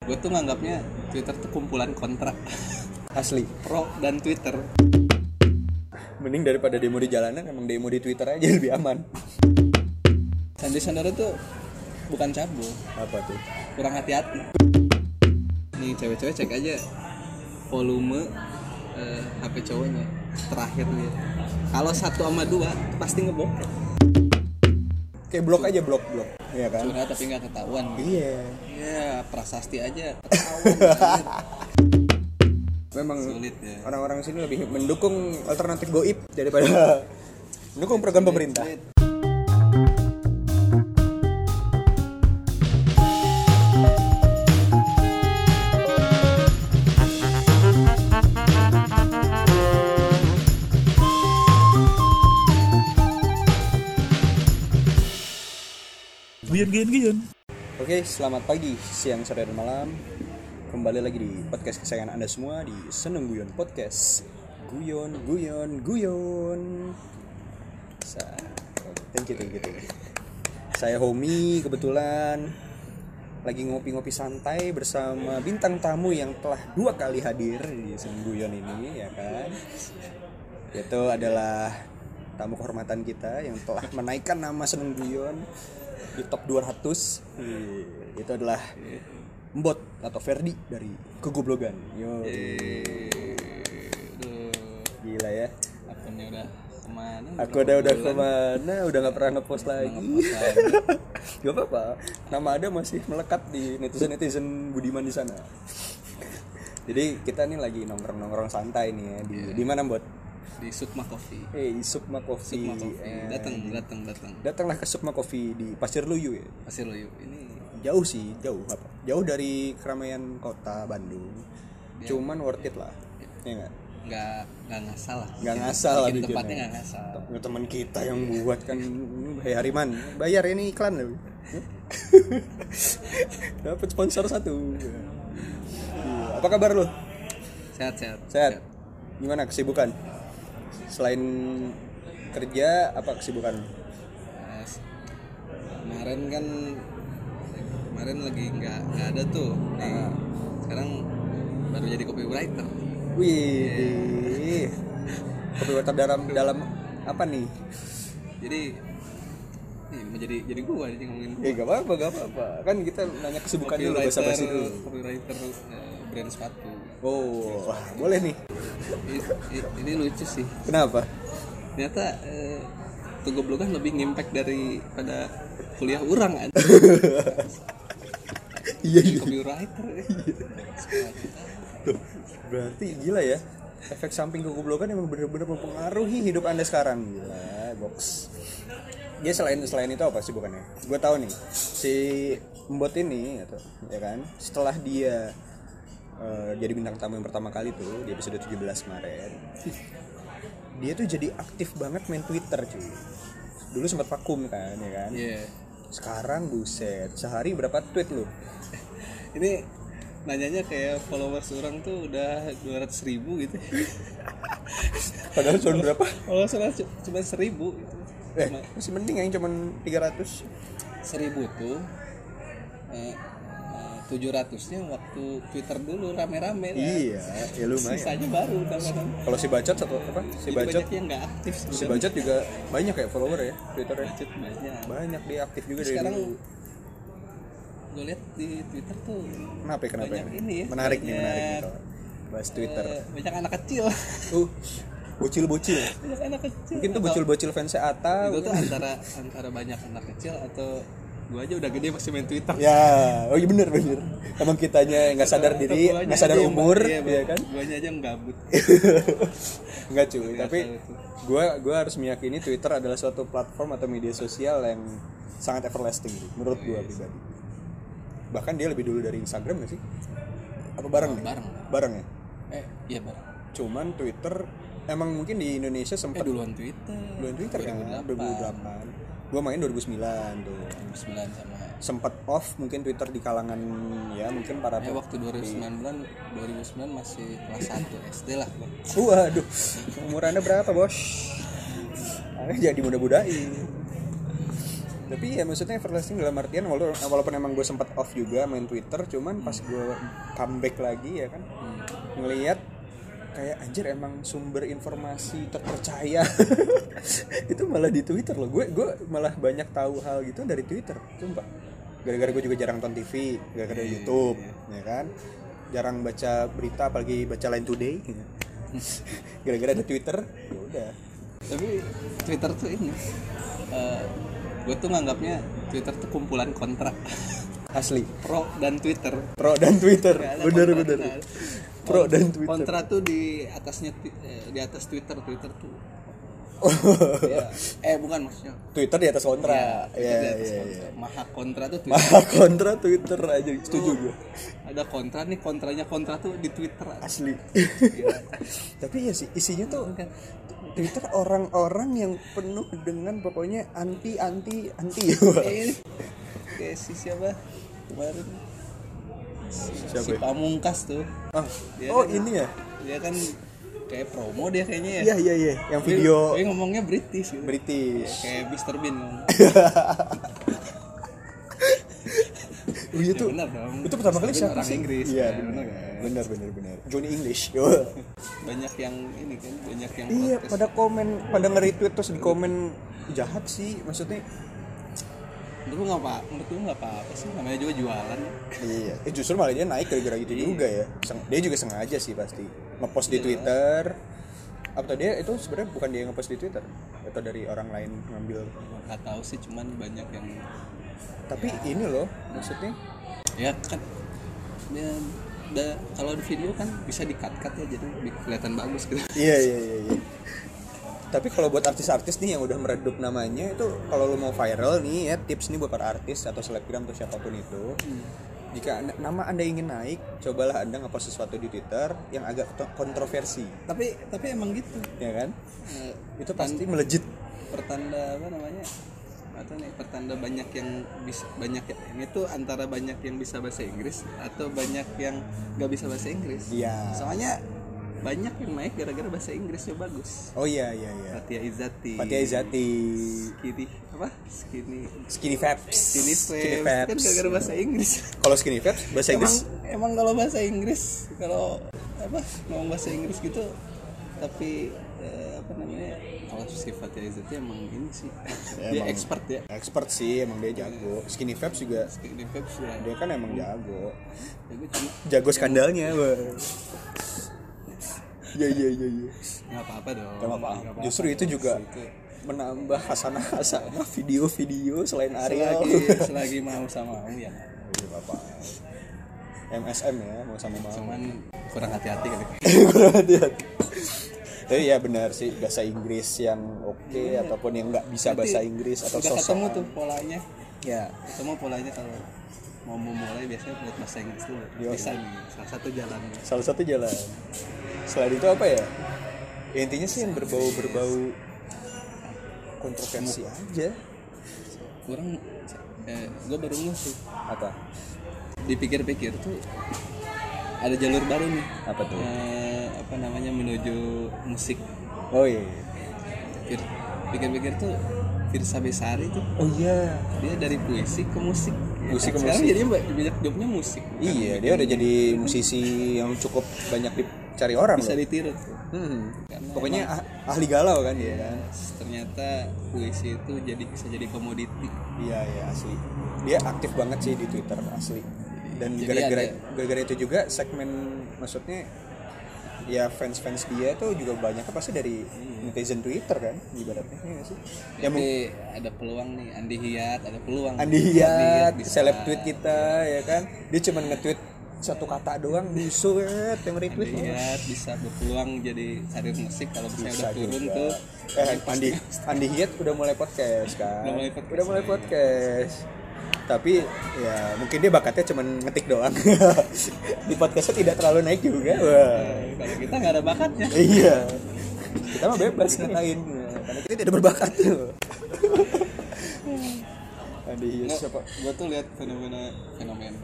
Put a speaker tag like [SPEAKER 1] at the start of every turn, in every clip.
[SPEAKER 1] gue tuh nganggapnya Twitter tuh kumpulan kontrak
[SPEAKER 2] asli
[SPEAKER 1] pro dan Twitter
[SPEAKER 2] mending daripada demo di jalanan emang demo di twitter aja lebih aman
[SPEAKER 1] Sandi Sandoro tuh bukan cabul
[SPEAKER 2] apa tuh
[SPEAKER 1] kurang hati-hati nih cewek-cewek cek aja volume eh, HP cowoknya terakhir dia kalau satu sama dua pasti ngebok
[SPEAKER 2] kayak blok aja blok blok iya kan
[SPEAKER 1] curhat tapi nggak ketahuan gitu.
[SPEAKER 2] iya
[SPEAKER 1] ya prasasti aja
[SPEAKER 2] memang
[SPEAKER 1] Sulit, ya.
[SPEAKER 2] orang-orang sini lebih mendukung alternatif goib daripada mendukung program pemerintah
[SPEAKER 3] Gian gian gian.
[SPEAKER 2] Oke, selamat pagi, siang, sore, dan malam. Kembali lagi di podcast kesayangan Anda semua di Seneng Guyon Podcast. Guyon, guyon, guyon. Sa- Thank you, thank you, thank you. Saya Homi kebetulan lagi ngopi-ngopi santai bersama bintang tamu yang telah dua kali hadir di Seneng Guyon ini, ya kan? Yaitu adalah tamu kehormatan kita yang telah menaikkan nama Seneng Guyon di top 200. Iya, Itu adalah Mbot atau Ferdi dari Kegoblogan. Yo.
[SPEAKER 1] Iya.
[SPEAKER 2] Gila ya.
[SPEAKER 1] akunnya udah kemana
[SPEAKER 2] Aku udah udah kemana? Udah nggak pernah ngepost lagi. Gak apa-apa. Nama ada masih melekat di netizen netizen Budiman di sana. Jadi kita nih lagi nongkrong-nongkrong santai nih ya di
[SPEAKER 1] Iya.
[SPEAKER 2] di mana Mbot?
[SPEAKER 1] di Sukma Coffee
[SPEAKER 2] Eh, di Sukma Coffee.
[SPEAKER 1] Sukma Coffee
[SPEAKER 2] Eh,
[SPEAKER 1] datang datang datang
[SPEAKER 2] Datanglah ke Sukma Coffee di Pasir Luyu ya.
[SPEAKER 1] masih loyo ini
[SPEAKER 2] jauh sih jauh apa jauh dari keramaian kota Bandung
[SPEAKER 1] Iya.
[SPEAKER 2] cuman worth it lah ya nggak
[SPEAKER 1] nggak nggak ngasal lah
[SPEAKER 2] nggak ngasal lah
[SPEAKER 1] Iya. bikin
[SPEAKER 2] bikinnya.
[SPEAKER 1] tempatnya nggak ngasal
[SPEAKER 2] Ya, teman kita yang buat kan Hei Hariman bayar ini iklan loh dapat sponsor satu Iya. apa kabar lo
[SPEAKER 1] sehat sehat
[SPEAKER 2] sehat gimana kesibukan selain kerja apa kesibukan
[SPEAKER 1] Nah, s- kemarin kan kemarin lagi nggak nggak ada tuh nih
[SPEAKER 2] Ah.
[SPEAKER 1] sekarang baru jadi copywriter
[SPEAKER 2] wih copywriter dalam dalam apa nih
[SPEAKER 1] jadi nih mau jadi jadi gua nih ngomongin
[SPEAKER 2] Eh gak apa-apa, gak apa-apa. Kan kita nanya kesibukan dulu, bahasa basi dulu.
[SPEAKER 1] copywriter eh, brand sepatu
[SPEAKER 2] Oh, wah, boleh nih.
[SPEAKER 1] ini, ini- ini lucu sih
[SPEAKER 2] Kenapa?
[SPEAKER 1] ternyata eh, tuh goblokan lebih ngimpact daripada kuliah orang kan
[SPEAKER 2] Iya,
[SPEAKER 1] Jadi copywriter
[SPEAKER 2] Berarti gila ya. Efek samping kegoblokan emang bener-bener mempengaruhi hidup anda sekarang. Gila, box. Dia selain selain itu apa sih bukannya? Gue tahu nih, si Mbot ini, atau ya kan, setelah dia eh, jadi bintang tamu yang pertama kali tuh di episode 17 kemarin, dia tuh jadi aktif banget main Twitter cuy. Dulu sempat vakum kan, ya kan?
[SPEAKER 1] Iya.
[SPEAKER 2] Sekarang buset, sehari berapa tweet lu?
[SPEAKER 1] ini nanyanya kayak followers orang tuh udah 200 ribu gitu
[SPEAKER 2] Padahal cuma berapa?
[SPEAKER 1] followers orang cu- cuma 1000 gitu.
[SPEAKER 2] Eh, masih mending yang cuma 300.
[SPEAKER 1] 1000 tuh eh, eh, 700 nya waktu Twitter dulu rame-rame lah.
[SPEAKER 2] Iya, ya lumayan.
[SPEAKER 1] sisanya baru kadang-kadang
[SPEAKER 2] Kalau si Bacot satu apa? Si
[SPEAKER 1] Jadi
[SPEAKER 2] Bacot,
[SPEAKER 1] banyak yang nggak aktif
[SPEAKER 2] si
[SPEAKER 1] sebenarnya
[SPEAKER 2] Bacot juga banyak ya follower ya Twitternya.
[SPEAKER 1] Bacot banyak
[SPEAKER 2] Banyak dia aktif juga dari
[SPEAKER 1] sekarang
[SPEAKER 2] dulu.
[SPEAKER 1] gue lihat di Twitter tuh
[SPEAKER 2] Kenapa ya, kenapa ya?
[SPEAKER 1] banyak ini ya,
[SPEAKER 2] Menarik nih, menarik nih
[SPEAKER 1] banyak,
[SPEAKER 2] kalau bahas Twitter.
[SPEAKER 1] eh, banyak anak kecil
[SPEAKER 2] Uh, bocil-bocil.
[SPEAKER 1] banyak anak kecil
[SPEAKER 2] Mungkin tuh
[SPEAKER 1] Atau- Iya.
[SPEAKER 2] bocil-bocil fansnya Ata.
[SPEAKER 1] itu tuh antara antara banyak anak kecil atau gua aja udah gede masih main Twitter.
[SPEAKER 2] Ya, oh iya bener bener. Emang kitanya nggak sadar
[SPEAKER 1] Atau
[SPEAKER 2] diri,
[SPEAKER 1] guanya
[SPEAKER 2] nggak sadar
[SPEAKER 1] aja yang-
[SPEAKER 2] umur,
[SPEAKER 1] iya,
[SPEAKER 2] ya kan?
[SPEAKER 1] Guanya aja yang gabut.
[SPEAKER 2] Enggak cuy, tapi
[SPEAKER 1] tahu itu.
[SPEAKER 2] gua gua harus meyakini Twitter adalah suatu platform atau media sosial yang sangat everlasting sih, menurut
[SPEAKER 1] Iya,
[SPEAKER 2] gua pribadi. Bahkan dia lebih dulu dari Instagram gak sih? Apa bareng? nih?
[SPEAKER 1] bareng.
[SPEAKER 2] Bareng ya.
[SPEAKER 1] Eh, iya bareng.
[SPEAKER 2] Cuman Twitter emang mungkin di Indonesia
[SPEAKER 1] Eh
[SPEAKER 2] sempat
[SPEAKER 1] duluan Twitter.
[SPEAKER 2] duluan Twitter kan 2008. Gua main 2009 tuh.
[SPEAKER 1] 2009 sama
[SPEAKER 2] Sempat off mungkin Twitter di kalangan ya mungkin para
[SPEAKER 1] eh waktu 2009 2009 masih kelas 1 SD lah gua.
[SPEAKER 2] Waduh, umur anda berapa bos? Anda jadi muda-mudain tapi ya maksudnya everlasting dalam artian walaupun, walaupun emang gue sempat off juga main Twitter cuman pas gue comeback lagi ya kan ngelihat kayak anjir emang sumber informasi terpercaya itu malah di Twitter loh gue gue malah banyak tahu hal gitu dari Twitter sumpah gara-gara gue juga jarang nonton TV gara-gara YouTube ya kan jarang baca berita apalagi baca Line Today gara-gara ada Twitter ya udah
[SPEAKER 1] tapi Twitter tuh ini eh, gue tuh nganggapnya Twitter tuh kumpulan kontrak
[SPEAKER 2] asli
[SPEAKER 1] pro dan Twitter
[SPEAKER 2] pro dan Twitter
[SPEAKER 1] Nggak ada
[SPEAKER 2] bener
[SPEAKER 1] kontrak,
[SPEAKER 2] bener
[SPEAKER 1] nggak ada.
[SPEAKER 2] pro dan Twitter
[SPEAKER 1] kontrak tuh di atasnya ti- eh, di atas Twitter Twitter tuh ya. eh bukan maksudnya
[SPEAKER 2] Twitter di atas kontra
[SPEAKER 1] Twitter Iya, di
[SPEAKER 2] ya ya
[SPEAKER 1] atas
[SPEAKER 2] ya
[SPEAKER 1] kontra. maha kontra tuh Twitter
[SPEAKER 2] malah kontra Twitter aja
[SPEAKER 1] Oh.
[SPEAKER 2] setuju gue
[SPEAKER 1] ada kontra nih kontranya kontra tuh di Twitter
[SPEAKER 2] asli tapi ya sih isinya tuh Twitter orang-orang yang penuh dengan pokoknya anti anti anti Oh.
[SPEAKER 1] Eh, kayak si siapa kemarin si,
[SPEAKER 2] Siapa
[SPEAKER 1] si
[SPEAKER 2] ya?
[SPEAKER 1] Pamungkas tuh
[SPEAKER 2] Ah,
[SPEAKER 1] Dia
[SPEAKER 2] oh
[SPEAKER 1] kan-
[SPEAKER 2] ini ya
[SPEAKER 1] dia kan kayak promo dia kayaknya ya
[SPEAKER 2] iya iya iya yang video
[SPEAKER 1] Dia- dia ngomongnya British gitu.
[SPEAKER 2] British
[SPEAKER 1] kayak Mr Bean ngomong.
[SPEAKER 2] Oh,
[SPEAKER 1] Ya
[SPEAKER 2] iya tuh
[SPEAKER 1] benar dong.
[SPEAKER 2] itu pertama kali
[SPEAKER 1] Mr. Bean
[SPEAKER 2] siapa
[SPEAKER 1] orang
[SPEAKER 2] sih
[SPEAKER 1] Inggris
[SPEAKER 2] iya
[SPEAKER 1] kan,
[SPEAKER 2] benar
[SPEAKER 1] benar kan?
[SPEAKER 2] benar benar benar Johnny English Oh.
[SPEAKER 1] banyak yang ini kan banyak yang
[SPEAKER 2] Iya,
[SPEAKER 1] protes.
[SPEAKER 2] pada komen, pada nge-retweet terus di komen jahat sih, maksudnya.
[SPEAKER 1] Menurut lu nggak apa menurut lu nggak apa apa sih namanya juga jualan
[SPEAKER 2] Iya. Eh justru malah dia naik gara-gara gitu juga ya. Seng- Dia juga sengaja sih pasti ngepost di
[SPEAKER 1] Iya.
[SPEAKER 2] Twitter. Atau dia itu sebenarnya bukan dia yang ngepost di Twitter atau dari orang lain ngambil.
[SPEAKER 1] nggak tahu sih cuman banyak yang
[SPEAKER 2] Tapi ini loh, maksudnya
[SPEAKER 1] ya kan ya, da- kalau di video kan bisa di cut cut ya jadi lebih kelihatan bagus gitu
[SPEAKER 2] Iya iya iya. iya. Tapi kalau buat artis-artis nih yang udah meredup namanya itu kalau lo mau viral nih ya tips nih buat para artis atau selebgram atau siapapun itu.
[SPEAKER 1] Hmm.
[SPEAKER 2] Jika anda- nama anda ingin naik, cobalah anda ngepost sesuatu di Twitter yang agak to- kontroversi,
[SPEAKER 1] tapi tapi emang gitu
[SPEAKER 2] ya kan?
[SPEAKER 1] Eh,
[SPEAKER 2] Itu pasti melejit.
[SPEAKER 1] pertanda apa namanya atau nih pertanda banyak yang bisa banyak ya- ini tuh antara banyak yang bisa bahasa Inggris atau banyak yang nggak bisa bahasa Inggris
[SPEAKER 2] Iya.
[SPEAKER 1] soalnya banyak yang naik gara-gara bahasa Inggrisnya bagus
[SPEAKER 2] Oh iya iya iya.
[SPEAKER 1] Fatia Izati
[SPEAKER 2] Fatia Izati,
[SPEAKER 1] skinny apa skinny
[SPEAKER 2] Skinny Fabs,
[SPEAKER 1] skinny Fabs. kan gara-gara bahasa Inggris
[SPEAKER 2] Kalau Skinny Fabs bahasa
[SPEAKER 1] emang
[SPEAKER 2] Inggris
[SPEAKER 1] emang kalau bahasa Inggris kalau apa ngomong bahasa Inggris gitu tapi eh, apa namanya kalau sifatnya Izati emang ini sih dia
[SPEAKER 2] Emang.
[SPEAKER 1] expert ya
[SPEAKER 2] expert sih emang dia jago. Skinny Fabs juga
[SPEAKER 1] Skinny Fabs ya
[SPEAKER 2] dia kan emang jago.
[SPEAKER 1] tapi Ya, cuma
[SPEAKER 2] jago skandalnya wah ya ya ya ya
[SPEAKER 1] nggak apa-apa dong
[SPEAKER 2] Gak apa-apa. justru itu juga menambah hasanah hasanah video-video selain Ariel
[SPEAKER 1] selagi selagi mau sama mau ya
[SPEAKER 2] Gak apa-apa. MSM ya mau sama mau
[SPEAKER 1] cuman kurang hati-hati kali
[SPEAKER 2] hati-hati tapi ya benar sih bahasa Inggris yang oke ataupun yang nggak bisa bahasa Inggris atau
[SPEAKER 1] Udah
[SPEAKER 2] sosok
[SPEAKER 1] ketemu tuh polanya
[SPEAKER 2] ya
[SPEAKER 1] ketemu polanya kalau mau memulai biasanya buat bahasa Inggris dulu
[SPEAKER 2] Yo.
[SPEAKER 1] bisa nih salah satu jalan
[SPEAKER 2] salah satu jalan selain itu apa ya, Ya, intinya sih yang berbau berbau kontroversi aja
[SPEAKER 1] kurang eh, gue baru ngeh sih
[SPEAKER 2] apa
[SPEAKER 1] dipikir-pikir tuh ada jalur baru nih
[SPEAKER 2] apa tuh
[SPEAKER 1] eh, apa namanya menuju musik
[SPEAKER 2] Oh iya.
[SPEAKER 1] Pikir- pikir-pikir tuh Firsa Besari tuh
[SPEAKER 2] Oh iya.
[SPEAKER 1] dia dari puisi ke musik
[SPEAKER 2] Puisi ke
[SPEAKER 1] Sekarang
[SPEAKER 2] musik.
[SPEAKER 1] jadinya ba- banyak jobnya musik
[SPEAKER 2] Iya, dia udah jadi musisi yang cukup banyak dicari orang
[SPEAKER 1] bisa
[SPEAKER 2] loh.
[SPEAKER 1] ditiru tuh
[SPEAKER 2] Hmm.
[SPEAKER 1] Karena
[SPEAKER 2] Pokoknya ah- ahli galau kan dia kan.
[SPEAKER 1] emang ternyata puisi itu jadi bisa jadi komoditi
[SPEAKER 2] Iya, iya asli. Dia aktif banget sih di Twitter asli. Dan
[SPEAKER 1] Jadi
[SPEAKER 2] gara-gara
[SPEAKER 1] ada- ya?
[SPEAKER 2] gara-gara itu juga segmen maksudnya ya fans-fans dia tuh juga banyak pasti dari
[SPEAKER 1] Hmm.
[SPEAKER 2] netizen Twitter kan ibaratnya Iya nggak sih. Ya mungkin
[SPEAKER 1] Jadi ada peluang nih Andi Hiat ada peluang
[SPEAKER 2] Andi Hiat,
[SPEAKER 1] Iya, bisa.
[SPEAKER 2] seleb tweet kita ya kan. Dia cuma nge-tweet satu kata doang buset yang
[SPEAKER 1] Andi
[SPEAKER 2] retweet.
[SPEAKER 1] Hiat bisa berpeluang jadi karir musik kalau misalnya
[SPEAKER 2] bisa
[SPEAKER 1] udah turun
[SPEAKER 2] juga.
[SPEAKER 1] tuh
[SPEAKER 2] eh Andi Andi Hiat udah mulai podcast kan
[SPEAKER 1] Udah mulai podcast,
[SPEAKER 2] Udah mulai
[SPEAKER 1] ya.
[SPEAKER 2] podcast. tapi ya mungkin dia bakatnya cuman ngetik doang di podcastnya tidak terlalu naik juga Wah.
[SPEAKER 1] eh, kalau kita nggak ada bakatnya
[SPEAKER 2] iya kita mah bebas ngatain Ya, karena kita tidak berbakat Andi Hiat siapa
[SPEAKER 1] gue tuh lihat fenomena fenomena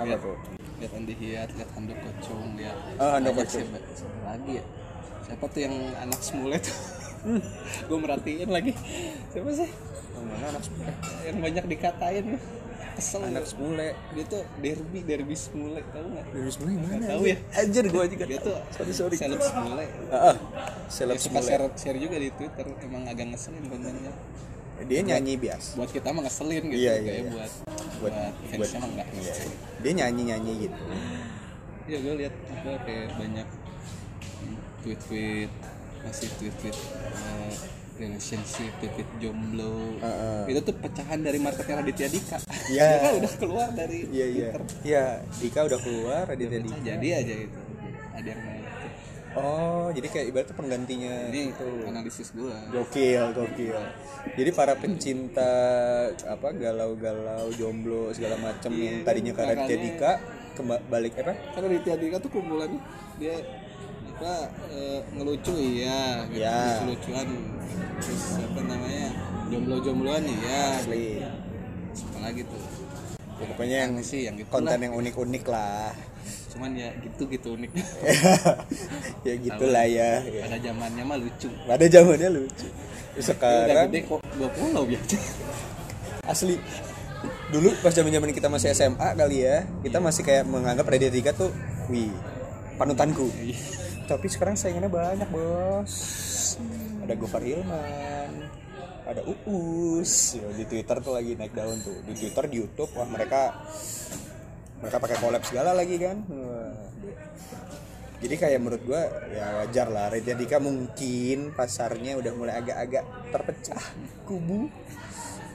[SPEAKER 2] apa
[SPEAKER 1] lihat,
[SPEAKER 2] tuh
[SPEAKER 1] lihat Andi Hiat lihat Handoko Kocong lihat
[SPEAKER 2] Ah, Handoko
[SPEAKER 1] banyak
[SPEAKER 2] Chung.
[SPEAKER 1] siapa, siapa lagi ya
[SPEAKER 2] Hmm.
[SPEAKER 1] siapa tuh yang anak semule tuh gue merhatiin lagi siapa sih
[SPEAKER 2] yang mana anak sepule
[SPEAKER 1] yang banyak dikatain kesel
[SPEAKER 2] anak
[SPEAKER 1] gua.
[SPEAKER 2] sepule
[SPEAKER 1] dia tuh derby derby semule tau nggak
[SPEAKER 2] dari sepule yang mana
[SPEAKER 1] Nggak tahu ya. Iya.
[SPEAKER 2] anjir? anjir gue juga
[SPEAKER 1] dia tuh
[SPEAKER 2] sorry sorry
[SPEAKER 1] seleb semule
[SPEAKER 2] ah ah.
[SPEAKER 1] Dia
[SPEAKER 2] seleb
[SPEAKER 1] suka
[SPEAKER 2] sepule
[SPEAKER 1] share, share juga di Twitter emang agak ngeselin kontennya
[SPEAKER 2] dia nyanyi biasa
[SPEAKER 1] buat kita mah ngeselin gitu
[SPEAKER 2] Iya, iya,
[SPEAKER 1] kayak
[SPEAKER 2] iya.
[SPEAKER 1] buat
[SPEAKER 2] buat
[SPEAKER 1] buat fans
[SPEAKER 2] buat
[SPEAKER 1] emang nggak
[SPEAKER 2] iya, iya. dia nyanyi nyanyi gitu
[SPEAKER 1] Iya gue lihat apa kayak banyak mm, tweet-tweet masih tweet-tweet eh, relationship, tweet-tweet jomblo.
[SPEAKER 2] Heeh.
[SPEAKER 1] Itu tuh pecahan dari marketnya Raditya Dika.
[SPEAKER 2] Iya.
[SPEAKER 1] Dia kan udah keluar dari
[SPEAKER 2] iya iya
[SPEAKER 1] Twitter.
[SPEAKER 2] iya Dika udah keluar
[SPEAKER 1] Pecah
[SPEAKER 2] Raditya Dika
[SPEAKER 1] jadi aja itu. Ada yang naik.
[SPEAKER 2] oh jadi kayak ibaratnya penggantinya
[SPEAKER 1] Ini
[SPEAKER 2] itu
[SPEAKER 1] analisis gue.
[SPEAKER 2] gokil gokil jadi para pencinta apa galau-galau jomblo segala macam yang tadinya ke
[SPEAKER 1] Iya,
[SPEAKER 2] Raditya
[SPEAKER 1] makanya-
[SPEAKER 2] Dika kemba- balik apa
[SPEAKER 1] Karena Kan Raditya Dika tuh kumpulannya dia apa eh, ngelucu iya, gitu.
[SPEAKER 2] Iya.
[SPEAKER 1] Terus lucuan, terus apa namanya jomblo-jombloan iya.
[SPEAKER 2] asli
[SPEAKER 1] Apalagi tuh
[SPEAKER 2] Ya, pokoknya yang
[SPEAKER 1] Aneh sih yang gitu
[SPEAKER 2] konten yang unik-unik lah
[SPEAKER 1] cuman ya gitu gitu unik
[SPEAKER 2] Iya. ya gitulah ya Ya.
[SPEAKER 1] pada zamannya mah lucu
[SPEAKER 2] pada zamannya lucu
[SPEAKER 1] udah
[SPEAKER 2] sekarang
[SPEAKER 1] gede kok dua pulau biasa
[SPEAKER 2] asli dulu pas zaman zaman kita masih SMA kali ya kita masih kayak menganggap Raditya Dika tuh wih panutanku tapi sekarang saingannya banyak bos ada Gofar Hilman ada Uus Ya, di Twitter tuh lagi naik daun tuh di Twitter di YouTube wah mereka mereka pakai collab segala lagi kan Wah. jadi kayak menurut gua ya wajar lah Raditya Dika mungkin pasarnya udah mulai agak-agak terpecah kubu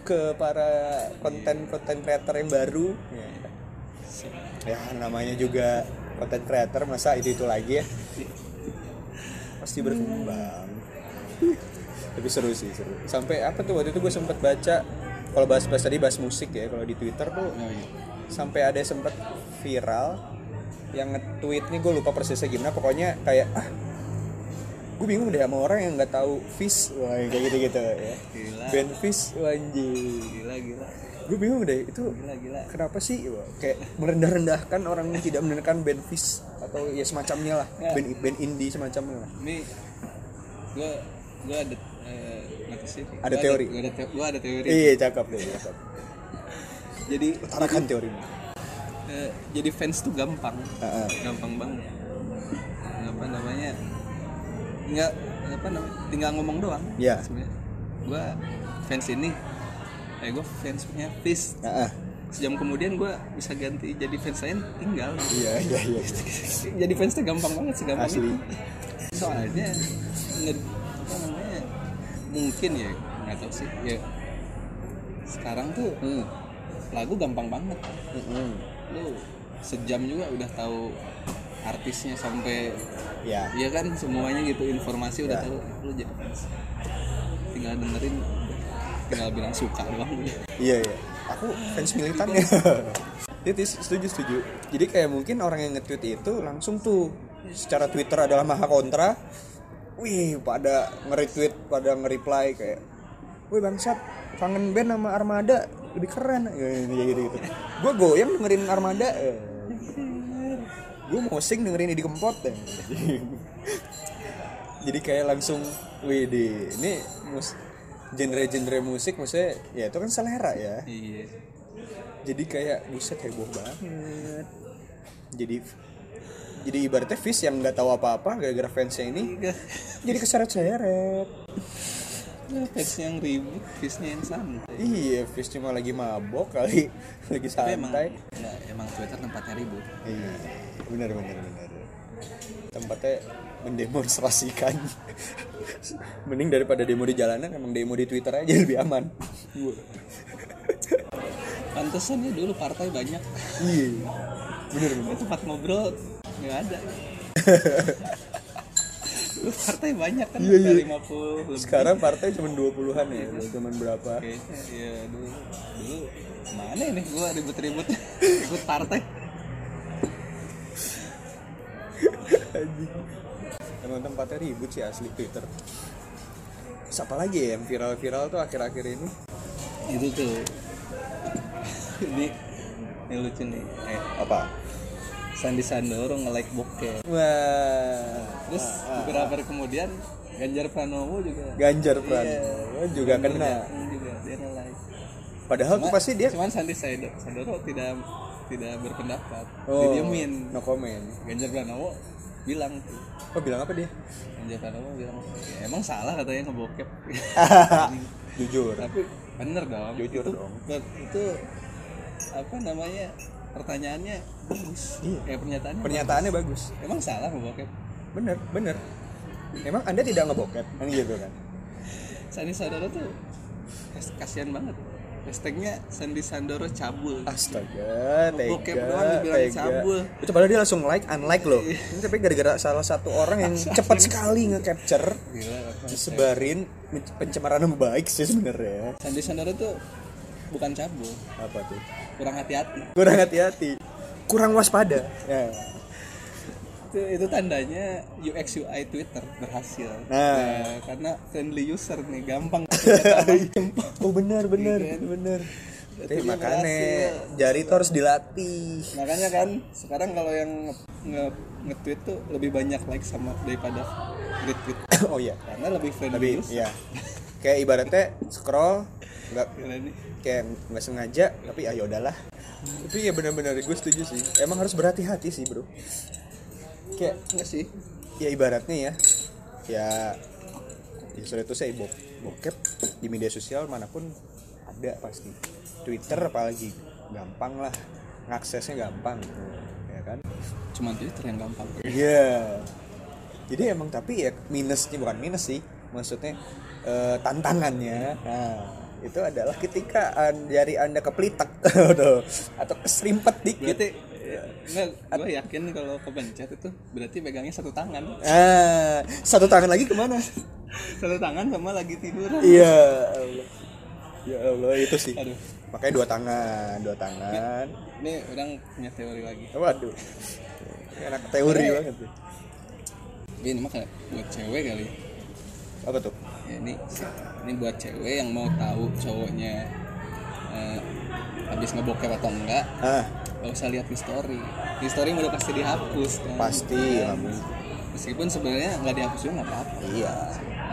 [SPEAKER 2] ke para konten-konten creator yang baru ya, ya namanya juga konten creator masa itu itu lagi ya pasti berkembang tapi seru sih seru sampai apa tuh waktu itu gue sempet baca kalau bahas-bahas tadi bahas musik ya kalau di Twitter tuh
[SPEAKER 1] Oh, iya.
[SPEAKER 2] sampai ada sempet viral yang nge-tweet nih gue lupa persisnya gimana pokoknya kayak ah gue bingung deh sama orang yang nggak tahu fish wah yang kayak gitu gitu ya
[SPEAKER 1] Gila.
[SPEAKER 2] band fish wah, anjing
[SPEAKER 1] gila gila
[SPEAKER 2] gue bingung deh itu
[SPEAKER 1] gila gila
[SPEAKER 2] kenapa sih wah, kayak merendah-rendahkan orang yang tidak mendengarkan band fish atau ya semacamnya lah
[SPEAKER 1] Ya.
[SPEAKER 2] band band indie semacamnya lah
[SPEAKER 1] ini gua gua ada eh, nggak tahu sih. Gua
[SPEAKER 2] Ada teori.
[SPEAKER 1] gua ada, teo- gua ada teori
[SPEAKER 2] iya cakep deh cakep
[SPEAKER 1] jadi
[SPEAKER 2] utarakan teorimu
[SPEAKER 1] eh, jadi fans tuh gampang
[SPEAKER 2] Heeh.
[SPEAKER 1] gampang banget apa namanya nggak apa namanya tinggal ngomong doang
[SPEAKER 2] Iya.
[SPEAKER 1] sebenarnya gua fans ini eh gua fansnya Fish
[SPEAKER 2] Heeh.
[SPEAKER 1] sejam kemudian gua bisa ganti jadi fans lain tinggal
[SPEAKER 2] iya iya iya
[SPEAKER 1] jadi fans tuh gampang banget segampang
[SPEAKER 2] Asli.
[SPEAKER 1] itu soalnya nge- apa namanya mungkin ya nggak tahu sih ya sekarang tuh
[SPEAKER 2] hmm.
[SPEAKER 1] lagu gampang banget
[SPEAKER 2] Mm-mm.
[SPEAKER 1] lu sejam juga udah tahu artisnya sampai
[SPEAKER 2] ya
[SPEAKER 1] ya kan semuanya gitu informasi udah
[SPEAKER 2] Ya.
[SPEAKER 1] tahu lu jadi fans tinggal dengerin tinggal bilang suka doang udah
[SPEAKER 2] Iya iya. Aku fans militan ya. Itu Iya, setuju setuju. Jadi kayak mungkin orang yang nge-tweet itu langsung tuh secara Twitter adalah maha kontra. Wih, pada nge-retweet, pada nge-reply kayak, "Wih bangsat, kangen band sama Armada lebih keren." Ya gitu gitu. Gue goyang dengerin Armada. Gue mau sing dengerin di kempot ya. Jadi kayak langsung, wih di ini mus- genre-genre musik maksudnya ya itu kan selera ya
[SPEAKER 1] iya
[SPEAKER 2] jadi kayak buset heboh banget jadi jadi ibaratnya fish yang nggak tahu apa-apa gara-gara fansnya ini
[SPEAKER 1] Iya.
[SPEAKER 2] jadi keseret-seret
[SPEAKER 1] fans yang ribut fansnya yang santai
[SPEAKER 2] iya fish cuma lagi mabok kali lagi
[SPEAKER 1] tapi emang
[SPEAKER 2] santai
[SPEAKER 1] ya, emang Twitter tempatnya ribut
[SPEAKER 2] iya benar benar benar tempatnya mendemonstrasikan mending daripada demo di jalanan emang demo di twitter aja lebih aman
[SPEAKER 1] Pantesan ya dulu partai banyak.
[SPEAKER 2] iya benar benar
[SPEAKER 1] Tempat ngobrol nggak ada. dulu partai banyak kan
[SPEAKER 2] Iya,
[SPEAKER 1] ada
[SPEAKER 2] iya.
[SPEAKER 1] 50 lebih.
[SPEAKER 2] sekarang partai cuma 20-an ya cuman berapa
[SPEAKER 1] Kayaknya, Iya dulu dulu mana ini gua ribut-ribut ribut partai.
[SPEAKER 2] Anjing. Emang tempatnya ribut sih asli Twitter. Terus apa lagi ya yang viral-viral tuh akhir-akhir ini?
[SPEAKER 1] Itu tuh. ini ini lucu nih. Eh,
[SPEAKER 2] Apa?
[SPEAKER 1] Sandi Sandoro nge-like bokeh.
[SPEAKER 2] Wah,
[SPEAKER 1] Terus
[SPEAKER 2] Ah,
[SPEAKER 1] beberapa hari kemudian Ganjar Pranowo juga
[SPEAKER 2] Iya, Ganjar Pranowo juga kena.
[SPEAKER 1] Juga. they're alive.
[SPEAKER 2] Padahal tuh
[SPEAKER 1] Cuma-
[SPEAKER 2] pasti dia
[SPEAKER 1] Cuman Sandi Saido- Sandoro tidak tidak berpendapat.
[SPEAKER 2] oh,
[SPEAKER 1] Didiemin.
[SPEAKER 2] no comment.
[SPEAKER 1] Ganjar Pranowo bilang tuh.
[SPEAKER 2] Oh bilang apa dia?
[SPEAKER 1] Ganjar Pranowo bilang "Ya, emang salah katanya ngebokep.
[SPEAKER 2] Jujur.
[SPEAKER 1] Tapi bener dong.
[SPEAKER 2] Jujur
[SPEAKER 1] itu,
[SPEAKER 2] dong.
[SPEAKER 1] ber- Itu apa namanya? Pertanyaannya bagus.
[SPEAKER 2] Iya.
[SPEAKER 1] Eh pernyataannya.
[SPEAKER 2] Pernyataannya bagus.
[SPEAKER 1] bagus. Emang salah ngebokep.
[SPEAKER 2] Bener, bener. Emang anda tidak ngebokep? Kan gitu kan?
[SPEAKER 1] Sandi Sandoro tuh kas- kasihan banget. Hashtagnya Sandi Sandoro cabul.
[SPEAKER 2] Astaga,
[SPEAKER 1] Ngebokep
[SPEAKER 2] tega,
[SPEAKER 1] doang dibilang
[SPEAKER 2] tega.
[SPEAKER 1] cabul.
[SPEAKER 2] Itu padahal dia langsung like, unlike loh. Ini tapi gara-gara salah satu orang yang cepat sekali nge-capture,
[SPEAKER 1] Gila. apa?
[SPEAKER 2] disebarin pencemaran nama baik sih sebenarnya.
[SPEAKER 1] Sandi Sandoro tuh bukan cabul,
[SPEAKER 2] Apa tuh?
[SPEAKER 1] kurang hati-hati.
[SPEAKER 2] Kurang hati-hati, kurang waspada. Ya.
[SPEAKER 1] Itu, itu tandanya UX UI Twitter berhasil.
[SPEAKER 2] Nah.
[SPEAKER 1] Ya, karena friendly user nih, gampang.
[SPEAKER 2] Oh benar, benar,
[SPEAKER 1] Iya kan?
[SPEAKER 2] benar. Tapi
[SPEAKER 1] Itu dia
[SPEAKER 2] makanya
[SPEAKER 1] berhasil.
[SPEAKER 2] jari itu harus dilatih.
[SPEAKER 1] Makanya kan sekarang kalau yang nge- nge- nge-tweet tuh lebih banyak like sama daripada retweet
[SPEAKER 2] oh iya.
[SPEAKER 1] karena lebih friendly
[SPEAKER 2] Tapi
[SPEAKER 1] user.
[SPEAKER 2] ya kayak ibaratnya scroll nggak
[SPEAKER 1] Gila nih.
[SPEAKER 2] kayak nggak sengaja tapi ya udahlah tapi ya benar-benar gue setuju sih emang harus berhati-hati sih bro kayak
[SPEAKER 1] Enggak sih.
[SPEAKER 2] ya ibaratnya ya ya ya sudah itu saya bok bokep di media sosial manapun ada pasti Twitter apalagi gampang lah aksesnya gampang ya kan
[SPEAKER 1] Cuman Twitter yang gampang.
[SPEAKER 2] Iya. Jadi emang tapi ya minusnya bukan minus sih, maksudnya eh, tantangannya. Nah, itu adalah ketika an- jari anda kepelitak tuh, atau keserimpet dikit.
[SPEAKER 1] Berarti Iya. enggak gue yakin kalau kepencet itu berarti pegangnya satu tangan.
[SPEAKER 2] Ah, satu tangan lagi kemana?
[SPEAKER 1] Satu tangan sama lagi tiduran.
[SPEAKER 2] Iya. Allah. Ya Allah itu sih.
[SPEAKER 1] Aduh.
[SPEAKER 2] Makanya dua tangan, dua tangan.
[SPEAKER 1] Ini orang punya teori lagi.
[SPEAKER 2] Waduh. Enak teori banget. tuh.
[SPEAKER 1] Ini mah kayak buat cewek kali.
[SPEAKER 2] Apa tuh?
[SPEAKER 1] Ya, ini ini buat cewek yang mau tahu cowoknya eh, habis ngebokep atau enggak.
[SPEAKER 2] Ah,
[SPEAKER 1] Gak usah lihat history. History udah pasti dihapus kan.
[SPEAKER 2] pasti.
[SPEAKER 1] Kan?
[SPEAKER 2] kamu.
[SPEAKER 1] Meskipun sebenarnya nggak dihapus juga nggak apa-apa
[SPEAKER 2] Iya.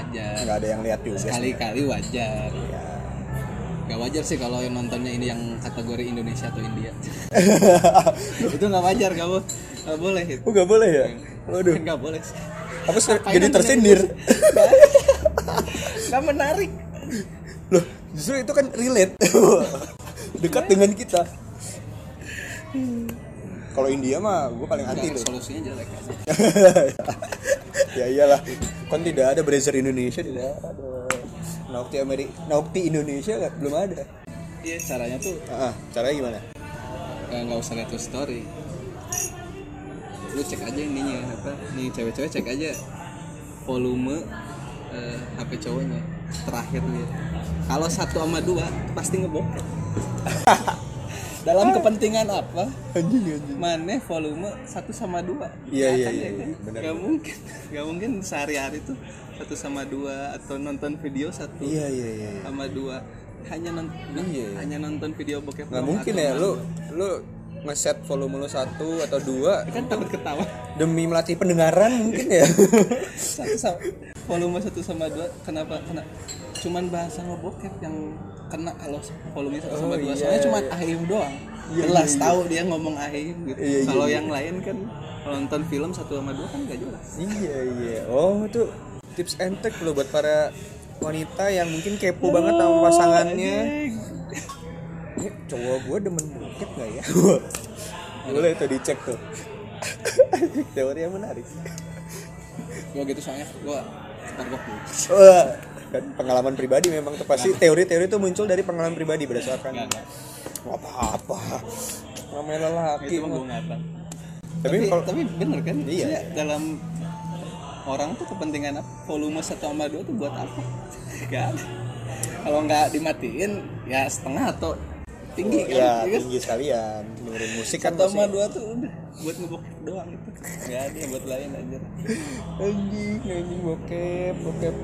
[SPEAKER 1] aja.
[SPEAKER 2] Nggak ada yang lihat juga. sih.
[SPEAKER 1] Sekali-kali wajar.
[SPEAKER 2] Ya.
[SPEAKER 1] Gak wajar sih kalau yang nontonnya ini yang kategori Indonesia atau India. itu nggak wajar kamu. Gak boleh itu.
[SPEAKER 2] Oh gak boleh ya? Waduh,
[SPEAKER 1] Nggak boleh. sih.
[SPEAKER 2] aku ser-
[SPEAKER 1] Ngapain
[SPEAKER 2] jadi
[SPEAKER 1] nonton
[SPEAKER 2] tersindir
[SPEAKER 1] Nggak menarik.
[SPEAKER 2] Loh, justru itu kan relate Dekat dengan kita Kalau India mah gue paling anti
[SPEAKER 1] Nggak,
[SPEAKER 2] tuh
[SPEAKER 1] solusinya jelek aja.
[SPEAKER 2] Ya iyalah, kan tidak ada browser Indonesia Tidak ada Naukti Amerika, Naukti Indonesia nggak- belum ada
[SPEAKER 1] Iya caranya tuh
[SPEAKER 2] Ah, ah, caranya gimana?
[SPEAKER 1] eh, nggak usah lihat story. Lu cek aja ininya apa? Nih cewek-cewek cek aja volume eh, HP cowoknya terakhir lihat. Kalau satu sama dua pasti ngebokep. Dalam kepentingan apa?
[SPEAKER 2] Anjing, anjing
[SPEAKER 1] Mana volume satu sama dua?
[SPEAKER 2] Iya, iya,
[SPEAKER 1] Kan
[SPEAKER 2] iya,
[SPEAKER 1] ya kan?
[SPEAKER 2] iya, benar.
[SPEAKER 1] Nggak mungkin, nggak mungkin sehari-hari tuh satu sama dua atau nonton video satu
[SPEAKER 2] Iya, iya, iya iya.
[SPEAKER 1] sama dua hanya nonton
[SPEAKER 2] Iya, iya.
[SPEAKER 1] hanya nonton video bokep
[SPEAKER 2] Nggak
[SPEAKER 1] doang
[SPEAKER 2] mungkin
[SPEAKER 1] atau
[SPEAKER 2] ya,
[SPEAKER 1] nonton-
[SPEAKER 2] lu lu ngeset volume lu satu atau dua
[SPEAKER 1] kan takut ketawa
[SPEAKER 2] demi melatih pendengaran mungkin ya
[SPEAKER 1] satu sama volume satu sama dua kenapa kena cuman bahasa ngebokep yang kena kalau volume satu sama
[SPEAKER 2] Oh,
[SPEAKER 1] dua
[SPEAKER 2] iya,
[SPEAKER 1] soalnya cuman
[SPEAKER 2] iya.
[SPEAKER 1] ahim doang
[SPEAKER 2] Iya,
[SPEAKER 1] jelas
[SPEAKER 2] iya, iya.
[SPEAKER 1] tahu dia ngomong ahim gitu
[SPEAKER 2] Iya, iya,
[SPEAKER 1] kalau
[SPEAKER 2] iya.
[SPEAKER 1] yang lain kan kalau nonton film satu sama dua kan gak jelas
[SPEAKER 2] Iya iya. Oh itu tips and trick loh buat para wanita yang mungkin kepo banget sama pasangannya. Ini cowok gue demen bokep gak ya? Boleh tuh dicek tuh. Teori yang menarik.
[SPEAKER 1] gua gitu soalnya gua tergok dulu
[SPEAKER 2] Wah, kan pengalaman pribadi memang tuh pasti teori-teori itu muncul dari pengalaman pribadi berdasarkan
[SPEAKER 1] Nah. Nggak, nggak.
[SPEAKER 2] apa-apa. Namanya lelaki.
[SPEAKER 1] itu mah gua ngatang
[SPEAKER 2] Tapi
[SPEAKER 1] tapi,
[SPEAKER 2] kalau
[SPEAKER 1] tapi bener kan
[SPEAKER 2] Iya,
[SPEAKER 1] Maksudnya dalam orang tuh kepentingan apa volume satu sama dua tuh buat apa kan kalau nggak dimatiin ya setengah atau tinggi kan
[SPEAKER 2] ya
[SPEAKER 1] ya kan?
[SPEAKER 2] tinggi sekalian dengerin musik kan
[SPEAKER 1] satu sama
[SPEAKER 2] masih-
[SPEAKER 1] dua tuh udah buat ngebokep doang itu nggak ada buat lain aja
[SPEAKER 2] anjing anjing bokep bokep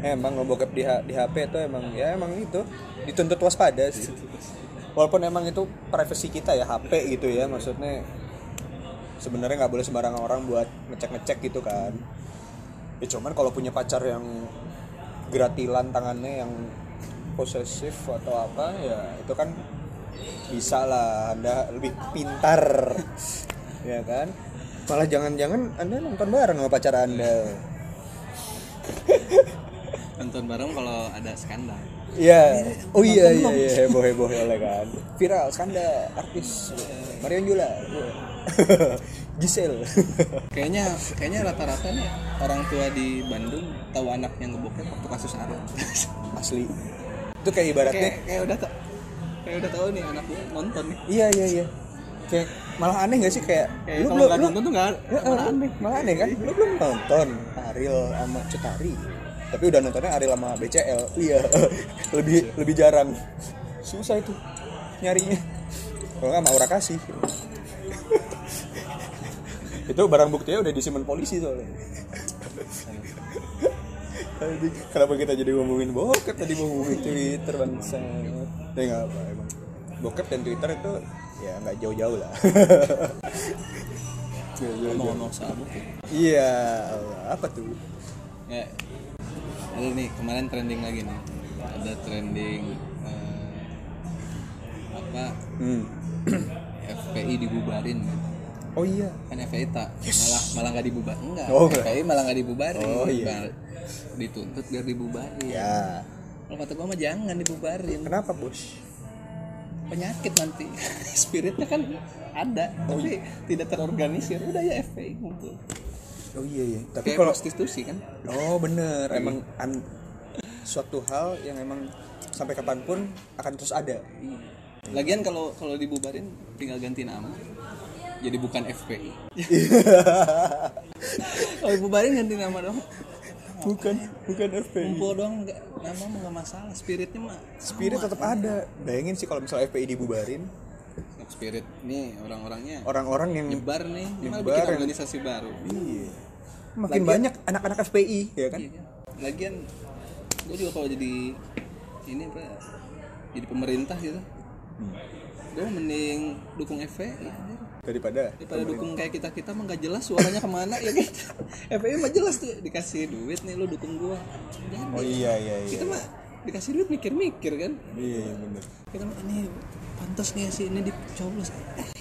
[SPEAKER 2] Eh, emang lo bokep di, H- di HP itu emang ya emang itu dituntut waspada sih walaupun emang itu privacy kita ya HP gitu ya maksudnya sebenarnya nggak boleh sembarangan orang buat ngecek ngecek gitu kan ya cuman kalau punya pacar yang gratilan tangannya yang posesif atau apa ya itu kan bisa lah anda lebih pintar ya kan malah jangan-jangan anda nonton bareng sama pacar anda
[SPEAKER 1] nonton bareng kalau ada skandal
[SPEAKER 2] Iya. Oh iya iya iya heboh heboh oleh kan. Viral skandal artis Marion Jula. Gisel.
[SPEAKER 1] kayaknya kayaknya rata-rata nih orang tua di Bandung tahu anaknya ngebokep waktu kasus Aron
[SPEAKER 2] Asli. Itu kayak ibaratnya
[SPEAKER 1] kayak kayak udah tau kayak udah tahu nih anak gue nonton nih
[SPEAKER 2] iya iya iya. Kayak malah aneh gak sih kayak,
[SPEAKER 1] kayak
[SPEAKER 2] lu
[SPEAKER 1] kalau
[SPEAKER 2] belum
[SPEAKER 1] nggak
[SPEAKER 2] lu
[SPEAKER 1] nonton tuh nggak
[SPEAKER 2] Ya,
[SPEAKER 1] malah
[SPEAKER 2] lu-
[SPEAKER 1] aneh
[SPEAKER 2] malah aneh kan lu belum nonton Ariel sama Cetari tapi udah nontonnya Ariel sama BCL iya lebih lebih jarang Iya. susah itu nyarinya kalau nggak sama Aura Kasih itu barang buktinya udah disimpan polisi soalnya Aduh, kenapa kita jadi ngomongin bokep tadi mau ngomongin Twitter bangsa ya nggak apa emang bokep dan Twitter itu ya nggak jauh-jauh lah Nggak jauh-jauh.
[SPEAKER 1] ngomong-ngomong soal bokep
[SPEAKER 2] Iya, apa tuh?
[SPEAKER 1] ya ada nih kemarin trending lagi nih ada trending eh, apa
[SPEAKER 2] Hmm.
[SPEAKER 1] FPI dibubarin
[SPEAKER 2] Oh iya.
[SPEAKER 1] kan FPI tak malah malah nggak dibubar enggak
[SPEAKER 2] Oh, enggak.
[SPEAKER 1] FPI malah nggak dibubarin
[SPEAKER 2] Oh, iya.
[SPEAKER 1] Mal- dituntut biar dibubarin
[SPEAKER 2] Ya.
[SPEAKER 1] kalau kata gua mah jangan dibubarin
[SPEAKER 2] Kenapa bos?
[SPEAKER 1] penyakit nanti spiritnya kan ada tapi
[SPEAKER 2] iya.
[SPEAKER 1] tidak terorganisir udah ya FPI ngumpul
[SPEAKER 2] Oh iya iya. Tapi
[SPEAKER 1] kayak
[SPEAKER 2] kalau
[SPEAKER 1] prostitusi kan
[SPEAKER 2] oh bener emang an- suatu hal yang emang sampai kapanpun akan terus ada.
[SPEAKER 1] lagian kalau kalau dibubarin tinggal ganti nama jadi bukan FPI kalau dibubarin ganti nama doang
[SPEAKER 2] bukan bukan FPI.
[SPEAKER 1] ngumpul doang nggak- nama mah nggak masalah spiritnya mah
[SPEAKER 2] Spirit tetap ada. Bayangin sih kalau misalnya FPI dibubarin,
[SPEAKER 1] spirit nih orang-orangnya
[SPEAKER 2] orang-orang yang
[SPEAKER 1] nyebar nih malah
[SPEAKER 2] Nyebar
[SPEAKER 1] bikin
[SPEAKER 2] yang-
[SPEAKER 1] organisasi baru
[SPEAKER 2] Iya. makin banyak anak-anak FPI ya kan?
[SPEAKER 1] Iya kan? Lagian gue juga kalau jadi ini apa ya, jadi pemerintah gitu. Gue mending dukung FPI anjir.
[SPEAKER 2] Daripada
[SPEAKER 1] daripada dukung kayak kita kita mah nggak jelas suaranya kemana ya kan FPI mah jelas tuh dikasih duit nih lu dukung gua jadi
[SPEAKER 2] Oh iya iya iya.
[SPEAKER 1] kita mah dikasih duit mikir-mikir kan
[SPEAKER 2] Iya iya bener.
[SPEAKER 1] kita mah ini pantas nih sih ini dicoblos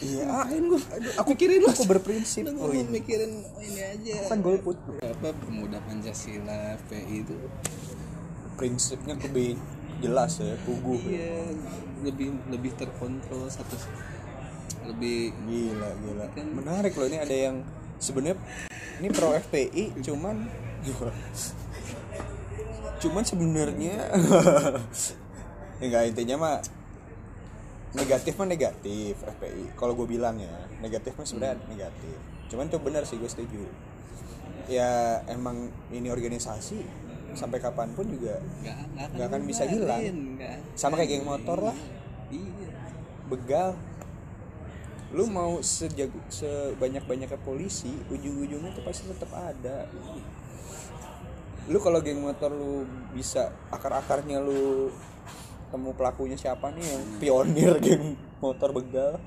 [SPEAKER 2] Iya.
[SPEAKER 1] ngapain gua aku mikirin lu
[SPEAKER 2] Aku berprinsip.
[SPEAKER 1] Udah
[SPEAKER 2] Oh
[SPEAKER 1] gua
[SPEAKER 2] iya.
[SPEAKER 1] mikirin ini aja
[SPEAKER 2] Kan golput.
[SPEAKER 1] apa pemuda Pancasila FPI itu
[SPEAKER 2] prinsipnya lebih jelas ya puguh
[SPEAKER 1] Iya, lebih lebih terkontrol satu lebih
[SPEAKER 2] gila gila menarik loh ini ada yang sebenarnya ini pro FPI cuman cuman sebenarnya ya nggak intinya mah negatif mah negatif FPI kalau gue bilang ya negatif mah sebenarnya negatif cuman tuh benar sih gue setuju ya emang ini organisasi sampai kapanpun juga
[SPEAKER 1] nggak
[SPEAKER 2] Nggak akan bisa hilang.
[SPEAKER 1] nggak-
[SPEAKER 2] Sama kayak geng motor lah.
[SPEAKER 1] Iya.
[SPEAKER 2] begal lu mau sejago sebanyak banyaknya polisi ujung-ujungnya tuh pasti tetap ada lu kalau geng motor lu bisa akar-akarnya lu temu pelakunya siapa nih yang pionir geng motor begal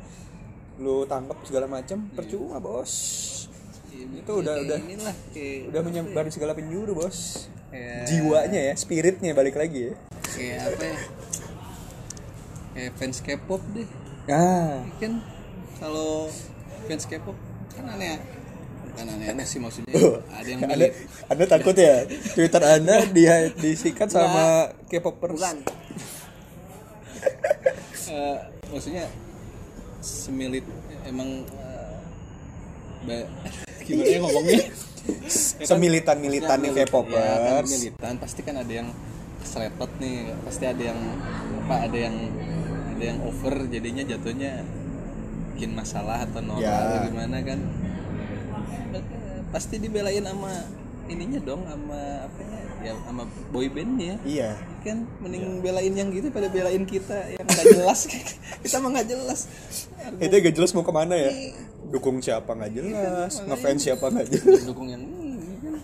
[SPEAKER 2] lu tangkap segala macam percuma bos itu
[SPEAKER 1] Iya,
[SPEAKER 2] udah
[SPEAKER 1] Kayak
[SPEAKER 2] udah
[SPEAKER 1] inilah kayak
[SPEAKER 2] udah menyebar di segala penjuru bos
[SPEAKER 1] kayak,
[SPEAKER 2] jiwanya ya spiritnya balik lagi ya
[SPEAKER 1] kayak apa ya? Kayak fans K-pop deh.
[SPEAKER 2] ah
[SPEAKER 1] Kan kalau fans K-pop kan aneh. Kan aneh-aneh sih maksudnya. Ada yang
[SPEAKER 2] Anda,
[SPEAKER 1] milih
[SPEAKER 2] anda takut ya Twitter Anda di, disikat sama K-popers?
[SPEAKER 1] Bukan. Eh, maksudnya semilit emang eh, ba- gimana ya ngomongnya?
[SPEAKER 2] Semilitan-militannya
[SPEAKER 1] Ya, ya, kan
[SPEAKER 2] K-popers.
[SPEAKER 1] militan pasti kan ada yang serepet nih, pasti ada yang apa ada yang ada yang over jadinya jatuhnya bikin masalah atau normal
[SPEAKER 2] Ya.
[SPEAKER 1] atau gimana kan. Pasti dibelain sama ininya dong sama apa ya sama boy bandnya
[SPEAKER 2] Iya.
[SPEAKER 1] kan mending
[SPEAKER 2] Ya.
[SPEAKER 1] belain yang gitu pada belain kita yang nggak jelas kita mah nggak jelas
[SPEAKER 2] Itu gak jelas mau kemana
[SPEAKER 1] Iya.
[SPEAKER 2] ya? Dukung siapa nggak jelas, ngefans siapa nggak jelas.
[SPEAKER 1] dukung yang ini kan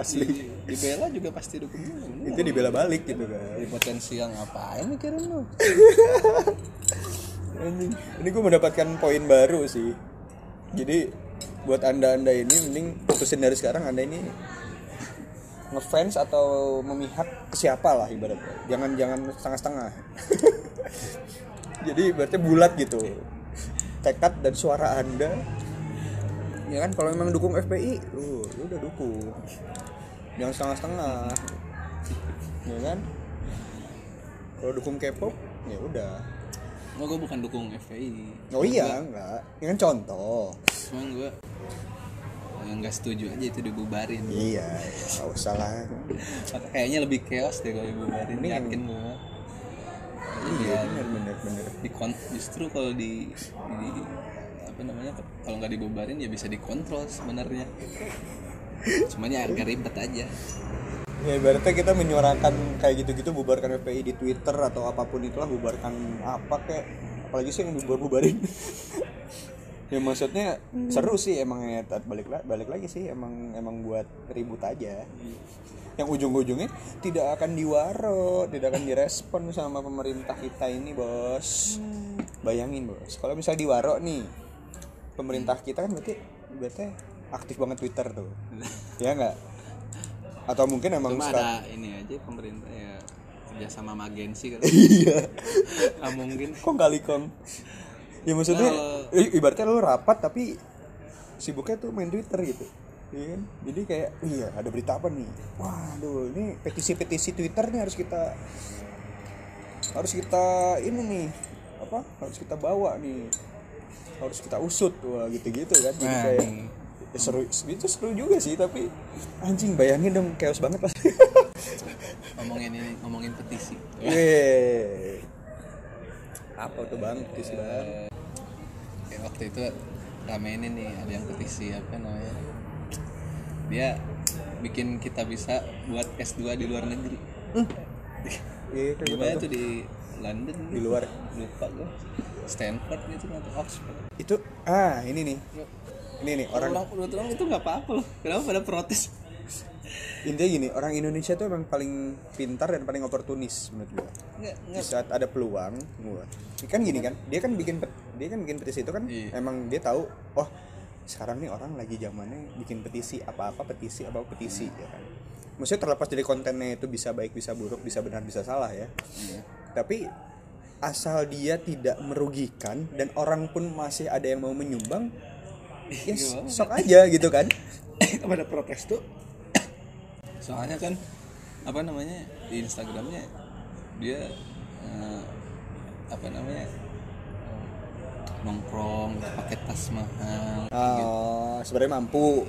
[SPEAKER 2] Asli.
[SPEAKER 1] Di- dibela juga pasti dukung ini.
[SPEAKER 2] Itu dibela balik gitu kan.
[SPEAKER 1] Dari potensial ngapain mikirin lu
[SPEAKER 2] Anjing. Ini gue mendapatkan poin baru sih. Jadi buat anda anda ini mending putusin dari sekarang anda ini ngefans atau memihak ke siapa lah ibaratnya jangan jangan setengah-setengah jadi berarti bulat gitu tekad dan suara anda ya kan kalau memang dukung FPI lu lu udah dukung jangan setengah-setengah ya kan kalau dukung K-pop ya udah
[SPEAKER 1] Nggak, gue bukan dukung FPI
[SPEAKER 2] oh iya enggak ini kan contoh
[SPEAKER 1] Cuman gue eh, nggak setuju aja itu dibubarin
[SPEAKER 2] iya nggak usah lah
[SPEAKER 1] Kayaknya lebih chaos deh kalau dibubarin
[SPEAKER 2] Mending-
[SPEAKER 1] Yakin gue
[SPEAKER 2] iya bener bener bener
[SPEAKER 1] Dikon- justru kalau di, di- apa namanya kalau nggak dibubarin ya bisa dikontrol sebenarnya cuman ya agak ribet aja
[SPEAKER 2] Ya ibaratnya kita menyuarakan kayak gitu-gitu bubarkan FPI di Twitter atau apapun itulah bubarkan apa kayak apalagi sih yang dibubar-bubarin. ya maksudnya seru sih emang ya Tat. balik la- balik lagi sih emang emang buat ribut aja. Yang ujung-ujungnya tidak akan diwaro, tidak akan direspon sama pemerintah kita ini, Bos. Bayangin, Bos. Kalau misalnya diwaro nih, pemerintah kita kan berarti berarti aktif banget Twitter tuh. ya enggak? Atau mungkin emang
[SPEAKER 1] cuma
[SPEAKER 2] suka-
[SPEAKER 1] ada ini aja pemerintah ya kerja sama sama agensi kan
[SPEAKER 2] iya
[SPEAKER 1] ah, mungkin
[SPEAKER 2] kong kali kong ya maksudnya
[SPEAKER 1] Kalau-
[SPEAKER 2] i- ibaratnya lu rapat tapi sibuknya tuh main twitter gitu Iya kan? jadi kayak iya ada berita apa nih waduh ini petisi-petisi twitter nih harus kita harus kita ini nih apa harus kita bawa nih harus kita usut wah gitu-gitu kan jadi
[SPEAKER 1] Nah,
[SPEAKER 2] kayak
[SPEAKER 1] ini.
[SPEAKER 2] ya seru itu seru juga sih tapi anjing bayangin dong chaos banget lah
[SPEAKER 1] ngomongin ini ngomongin petisi
[SPEAKER 2] Weh. apa tuh bang petisi bang
[SPEAKER 1] Kayak waktu itu rame ini nih ada yang petisi apa namanya dia bikin kita bisa buat S2 di luar negeri
[SPEAKER 2] Iya,
[SPEAKER 1] di
[SPEAKER 2] kayak
[SPEAKER 1] mana tuh di London
[SPEAKER 2] Di luar.
[SPEAKER 1] lupa gue Stanford gitu atau Oxford
[SPEAKER 2] Itu ah ini nih. Ini nih orang
[SPEAKER 1] orang menurut orang itu nggak apa-apa loh kenapa pada protes
[SPEAKER 2] intinya gini, orang Indonesia tuh emang paling pintar dan paling oportunis menurut gua.
[SPEAKER 1] nggak
[SPEAKER 2] Di
[SPEAKER 1] nggak
[SPEAKER 2] saat ada peluang, gua. Kan gini kan, dia kan bikin pet- dia kan bikin petisi itu kan
[SPEAKER 1] Iya.
[SPEAKER 2] emang dia tahu oh sekarang nih orang lagi zamannya bikin petisi apa-apa petisi apa petisi ya kan. Maksudnya terlepas dari kontennya itu bisa baik, bisa buruk, bisa benar, bisa salah ya.
[SPEAKER 1] Iya.
[SPEAKER 2] Tapi asal dia tidak merugikan dan orang pun masih ada yang mau menyumbang, ya
[SPEAKER 1] Gimana?
[SPEAKER 2] sok aja gitu kan.
[SPEAKER 1] pada protes tuh soalnya kan apa namanya di Instagramnya dia eh, apa namanya eh, nongkrong pakai tas mahal
[SPEAKER 2] Ah, sebenarnya mampu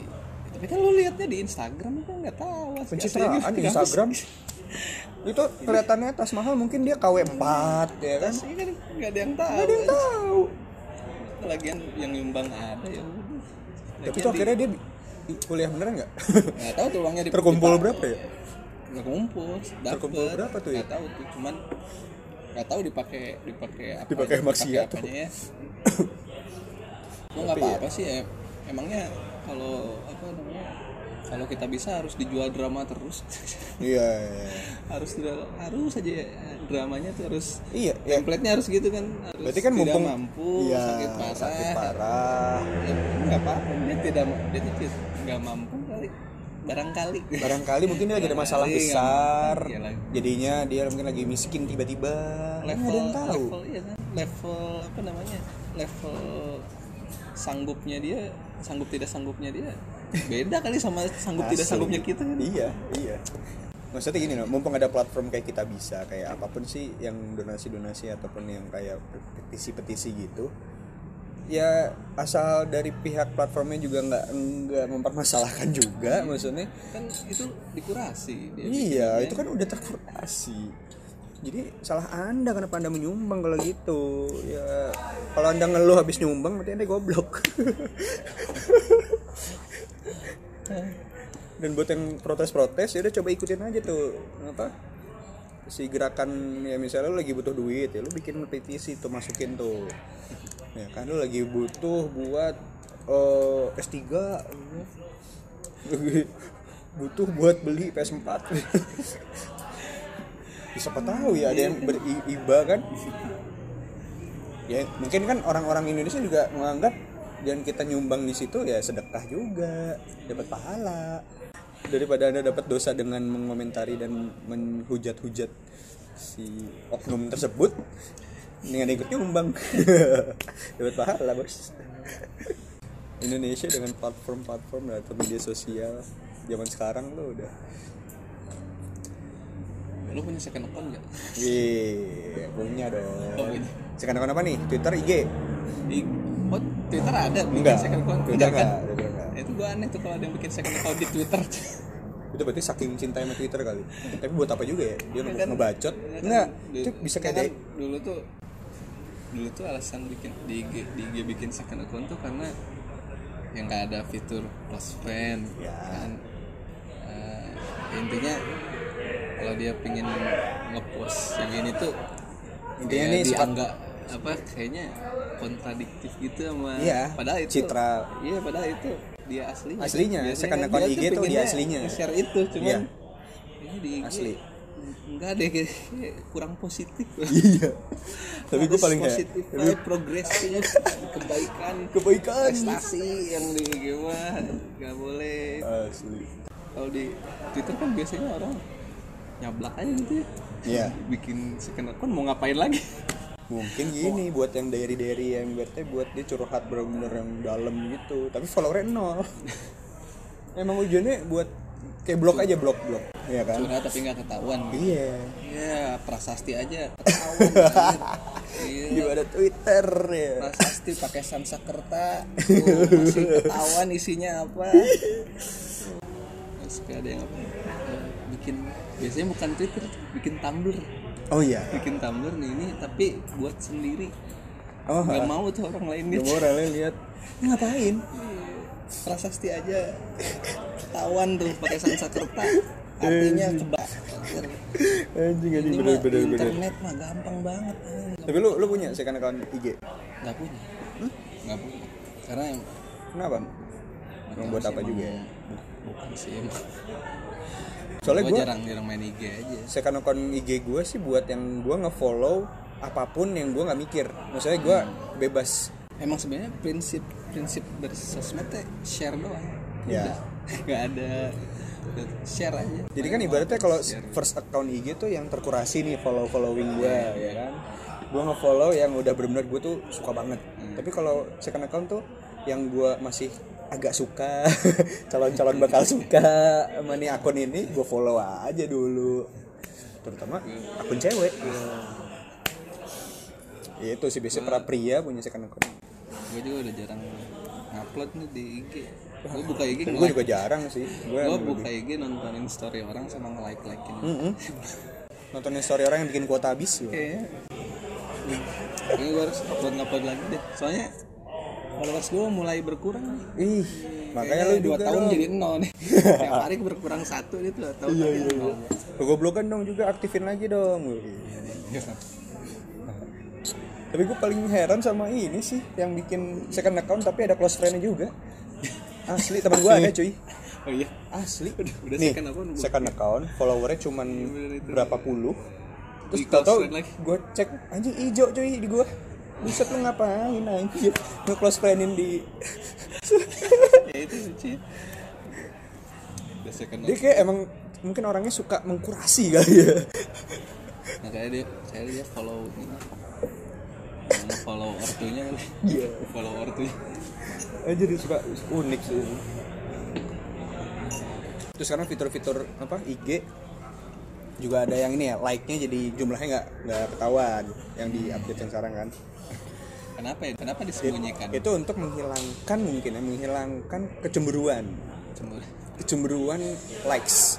[SPEAKER 1] tapi kan lu liatnya di Instagram kan nggak tahu asli- aslinya
[SPEAKER 2] pencitraan
[SPEAKER 1] gitu.
[SPEAKER 2] di Instagram itu kelihatannya tas mahal mungkin dia KW 4 ya kan
[SPEAKER 1] aslinya kan nggak ada yang tahu
[SPEAKER 2] Dia tahu
[SPEAKER 1] Nah, lagian yang nyumbang ada ya udah
[SPEAKER 2] tapi
[SPEAKER 1] Lagian
[SPEAKER 2] tuh
[SPEAKER 1] di-
[SPEAKER 2] akhirnya dia bi- di kuliah beneran nggak
[SPEAKER 1] nggak tahu tuh uangnya di
[SPEAKER 2] terkumpul
[SPEAKER 1] di-
[SPEAKER 2] berapa ya
[SPEAKER 1] nggak kumpul dapet.
[SPEAKER 2] Terkumpul berapa tuh ya?
[SPEAKER 1] nggak tahu tuh cuman nggak tahu dipakai dipakai apa
[SPEAKER 2] Dipakai maksiat tuh.
[SPEAKER 1] apanya ya Cuma nggak
[SPEAKER 2] Tapi ya.
[SPEAKER 1] apa-apa sih ya emangnya kalau apa namanya kalau kita bisa harus dijual drama terus
[SPEAKER 2] iya
[SPEAKER 1] harus dra- harus aja ya, dramanya tuh harus
[SPEAKER 2] iya iya
[SPEAKER 1] template-nya harus gitu kan harus
[SPEAKER 2] berarti kan
[SPEAKER 1] tidak
[SPEAKER 2] mumpung
[SPEAKER 1] mampu
[SPEAKER 2] iya,
[SPEAKER 1] sakit parah,
[SPEAKER 2] sakit parah
[SPEAKER 1] Ya, nggak apa-apa dia tidak ma- dia tuh tidak- nggak mampu kali barangkali
[SPEAKER 2] barangkali mungkin dia lagi ada masalah
[SPEAKER 1] Barangkali,
[SPEAKER 2] besar
[SPEAKER 1] iya lagi.
[SPEAKER 2] jadinya dia mungkin lagi miskin tiba-tiba Kan nggak ada
[SPEAKER 1] level
[SPEAKER 2] yang tahu
[SPEAKER 1] level iya kan level apa namanya level sanggupnya dia sanggup tidak sanggupnya dia beda kali sama sanggup tidak
[SPEAKER 2] Asli.
[SPEAKER 1] sanggupnya kita kan
[SPEAKER 2] Iya, iya. Maksudnya gini loh, mumpung ada platform kayak kita bisa, kayak apapun sih yang donasi-donasi ataupun yang kayak petisi-petisi gitu. Ya asal dari pihak platformnya juga nggak nggak mempermasalahkan juga, maksudnya.
[SPEAKER 1] kan itu dikurasi dia
[SPEAKER 2] Iya,
[SPEAKER 1] bikinnya.
[SPEAKER 2] itu kan udah terkurasi. Jadi salah anda kenapa anda menyumbang kalau gitu ya kalau anda ngeluh habis nyumbang berarti anda goblok. Dan buat yang protes-protes ya udah coba ikutin aja tuh apa si gerakan ya misalnya lu lagi butuh duit ya lu bikin petisi tuh masukin tuh ya kan lu lagi butuh buat eh, S3 ya. Lagi butuh buat beli PS4 Ya, siapa tahu ya ada yang beriba kan ya mungkin kan orang-orang Indonesia juga menganggap dan kita nyumbang di situ ya sedekah juga dapat pahala daripada anda dapat dosa dengan mengomentari dan menhujat-hujat si oknum tersebut dengan ikut nyumbang dapat pahala bos Indonesia dengan platform-platform dan atau media sosial zaman sekarang lo udah
[SPEAKER 1] Lu punya second account nggak?
[SPEAKER 2] Wih, punya dong.
[SPEAKER 1] Oh, punya.
[SPEAKER 2] Sekarang akun apa nih? Twitter, IG?
[SPEAKER 1] Di oh, Twitter ada bikin
[SPEAKER 2] Enggak.
[SPEAKER 1] second account?
[SPEAKER 2] Twitter
[SPEAKER 1] Enggak kan?
[SPEAKER 2] enggak. Twitter enggak.
[SPEAKER 1] Itu gua aneh tuh kalau ada yang bikin second account di Twitter.
[SPEAKER 2] Itu berarti saking cinta sama Twitter kali. Tapi buat apa juga ya? Dia
[SPEAKER 1] Iya
[SPEAKER 2] nge-
[SPEAKER 1] kan?
[SPEAKER 2] ngebacot.
[SPEAKER 1] Iya kan?
[SPEAKER 2] Enggak,
[SPEAKER 1] Dulu-
[SPEAKER 2] itu bisa kayak
[SPEAKER 1] kan
[SPEAKER 2] de-
[SPEAKER 1] dulu tuh dulu tuh alasan bikin di IG, di IG bikin second account tuh karena yang nggak ada fitur close friend
[SPEAKER 2] Ya.
[SPEAKER 1] kan Eh, intinya kalau dia pingin ngepost yang ini tuh
[SPEAKER 2] Intinya
[SPEAKER 1] kayak
[SPEAKER 2] nih sempat-
[SPEAKER 1] dianggap apa kayaknya kontradiktif gitu sama
[SPEAKER 2] Iya,
[SPEAKER 1] padahal itu
[SPEAKER 2] citra.
[SPEAKER 1] iya padahal itu dia aslinya
[SPEAKER 2] Aslinya,
[SPEAKER 1] Biasanya
[SPEAKER 2] second
[SPEAKER 1] kan
[SPEAKER 2] account
[SPEAKER 1] dia
[SPEAKER 2] IG tuh dia
[SPEAKER 1] pinginnya
[SPEAKER 2] aslinya.
[SPEAKER 1] nge-share itu cuman
[SPEAKER 2] Iya.
[SPEAKER 1] ini di IG
[SPEAKER 2] Asli.
[SPEAKER 1] enggak deh kayaknya kurang positif
[SPEAKER 2] Iya. Tapi gue
[SPEAKER 1] Harus
[SPEAKER 2] paling kayak
[SPEAKER 1] positif vibe, progresif kebaikan
[SPEAKER 2] kebaikan.
[SPEAKER 1] prestasi yang di IG mah nggak boleh
[SPEAKER 2] Asli.
[SPEAKER 1] kalau di Twitter kan biasanya orang nyablak aja gitu ya
[SPEAKER 2] Iya.
[SPEAKER 1] bikin second account mau ngapain lagi
[SPEAKER 2] Mungkin gini buat yang diary-diary yang berarti buat dia curhat bener-bener yang dalam gitu. Tapi followernya nol. Emang tujuannya buat kayak blog aja blog-blog. Iya kan?
[SPEAKER 1] curhat tapi nggak ketahuan gitu
[SPEAKER 2] Iya.
[SPEAKER 1] ya prasasti aja ketahuan anjir. Iya.
[SPEAKER 2] Gimana Twitter ya?
[SPEAKER 1] prasasti pakai Sansakerta tuh masih ketahuan isinya apa terus kayak ada yang apa eh, bikin biasanya bukan Twitter bikin Tumblr
[SPEAKER 2] Oh iya.
[SPEAKER 1] bikin Tumblr nih ini tapi buat sendiri
[SPEAKER 2] Oh,
[SPEAKER 1] nggak mau tuh orang lain
[SPEAKER 2] Gak
[SPEAKER 1] nih
[SPEAKER 2] mau orangnya lihat ngapain?
[SPEAKER 1] prasasti aja ketahuan tuh pakai Sansakerta artinya kebak
[SPEAKER 2] Anjing anjing
[SPEAKER 1] ini mah
[SPEAKER 2] bener bener bener.
[SPEAKER 1] internet mah gampang banget anjing.
[SPEAKER 2] Tapi lu Hmm? lu punya second account IG.
[SPEAKER 1] nggak punya nggak punya karena yang
[SPEAKER 2] Kenapa? Emang buat apa juga ya?
[SPEAKER 1] bukan sih emang
[SPEAKER 2] Soalnya
[SPEAKER 1] Gua
[SPEAKER 2] gua
[SPEAKER 1] jarang jarang main IG aja
[SPEAKER 2] second account IG gua sih buat yang gua ngefollow apapun yang gua nggak mikir. Maksudnya gua bebas.
[SPEAKER 1] emang sebenarnya prinsip prinsip bersosmed teh share doang
[SPEAKER 2] Ya.
[SPEAKER 1] Udah. nggak ada share aja
[SPEAKER 2] Jadi kan ibaratnya kalau first account IG tuh yang terkurasi nih follow following gua ya kan. Gua ngefollow yang udah bener-bener gua tuh suka banget.
[SPEAKER 1] Hmm.
[SPEAKER 2] Tapi kalau second account tuh yang gua masih agak suka calon-calon bakal suka sama nih akun ini gua follow aja dulu terutama akun cewek
[SPEAKER 1] Iya.
[SPEAKER 2] Ya itu sih biasanya para pria punya second account
[SPEAKER 1] gue juga udah jarang upload nih di IG gue buka IG
[SPEAKER 2] gue
[SPEAKER 1] nge-like
[SPEAKER 2] juga jarang sih gue
[SPEAKER 1] gue buka IG nontonin story orang sama nge-like likein
[SPEAKER 2] Hmm. nontonin story orang yang bikin kuota habis gua.
[SPEAKER 1] kayaknya ini gue harus upload upload lagi deh soalnya followers gue mulai berkurang nih
[SPEAKER 2] ih makanya
[SPEAKER 1] Kayaknya iya,
[SPEAKER 2] lu
[SPEAKER 1] dua
[SPEAKER 2] Iya juga
[SPEAKER 1] tahun
[SPEAKER 2] dong.
[SPEAKER 1] jadi nol nih tiap hari berkurang satu itu dua tahun
[SPEAKER 2] iya
[SPEAKER 1] jadi
[SPEAKER 2] iya
[SPEAKER 1] nol.
[SPEAKER 2] iya goblokan dong juga aktifin lagi dong iya. tapi gue paling heran sama ini sih yang bikin second account tapi ada close friend juga asli teman gue ada cuy
[SPEAKER 1] oh iya
[SPEAKER 2] asli
[SPEAKER 1] udah
[SPEAKER 2] nih
[SPEAKER 1] second account, Bu.
[SPEAKER 2] second account followernya cuman
[SPEAKER 1] bener itu.
[SPEAKER 2] berapa puluh
[SPEAKER 1] Di
[SPEAKER 2] terus
[SPEAKER 1] close
[SPEAKER 2] tau-tau
[SPEAKER 1] friend lagi.
[SPEAKER 2] gue cek anjing ijo cuy di gue Buset lu ngapain anjir Nge close friendin di
[SPEAKER 1] ya itu lucu ya. udah second
[SPEAKER 2] Dia kayak emang Mungkin orangnya suka mengkurasi kali ya
[SPEAKER 1] nah kayak dia saya dia follow ini Nah, follow ortunya kan
[SPEAKER 2] Iya
[SPEAKER 1] follow ortunya
[SPEAKER 2] Anjir suka unik sih Terus sekarang fitur-fitur apa IG juga ada yang ini ya like-nya jadi jumlahnya nggak nggak ketahuan yang di update yang sekarang kan
[SPEAKER 1] kenapa ya kenapa disembunyikan
[SPEAKER 2] itu untuk menghilangkan mungkin ya menghilangkan kecemburuan
[SPEAKER 1] Cemburu.
[SPEAKER 2] kecemburuan likes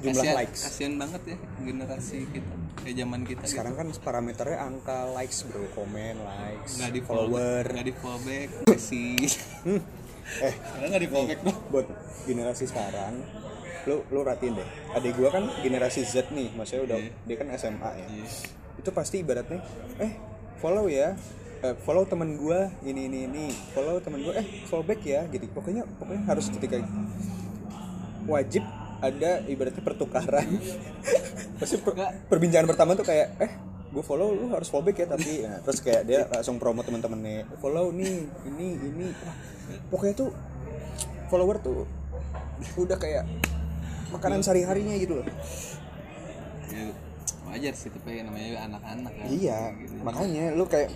[SPEAKER 2] jumlah
[SPEAKER 1] Kasian-
[SPEAKER 2] likes
[SPEAKER 1] kasian banget ya generasi kita kayak zaman kita gitu.
[SPEAKER 2] sekarang kan parameternya angka likes bro komen likes
[SPEAKER 1] nggak di follower
[SPEAKER 2] follower Hmm.
[SPEAKER 1] nggak di follow back sih
[SPEAKER 2] eh
[SPEAKER 1] sekarang nggak di follow back dong
[SPEAKER 2] buat generasi sekarang lu lu ratiin deh adik gua kan generasi Z nih maksudnya udah
[SPEAKER 1] Iya.
[SPEAKER 2] dia kan SMA ya
[SPEAKER 1] Iya.
[SPEAKER 2] itu pasti ibaratnya eh follow ya Eh, follow teman gua ini ini ini follow teman gua eh follow back ya gitu pokoknya pokoknya harus ketika wajib ada ibaratnya pertukaran pasti per-
[SPEAKER 1] Enggak.
[SPEAKER 2] perbincangan pertama tuh kayak eh gue follow lu harus follow back ya tapi Nah, terus kayak dia langsung promo temen-temennya follow nih ini ini Wah, pokoknya tuh follower tuh udah kayak makanan sehari-harinya gitu loh
[SPEAKER 1] ya, wajar sih tapi yang namanya juga anak-anak kan
[SPEAKER 2] iya
[SPEAKER 1] Gitu.
[SPEAKER 2] makanya lu kayak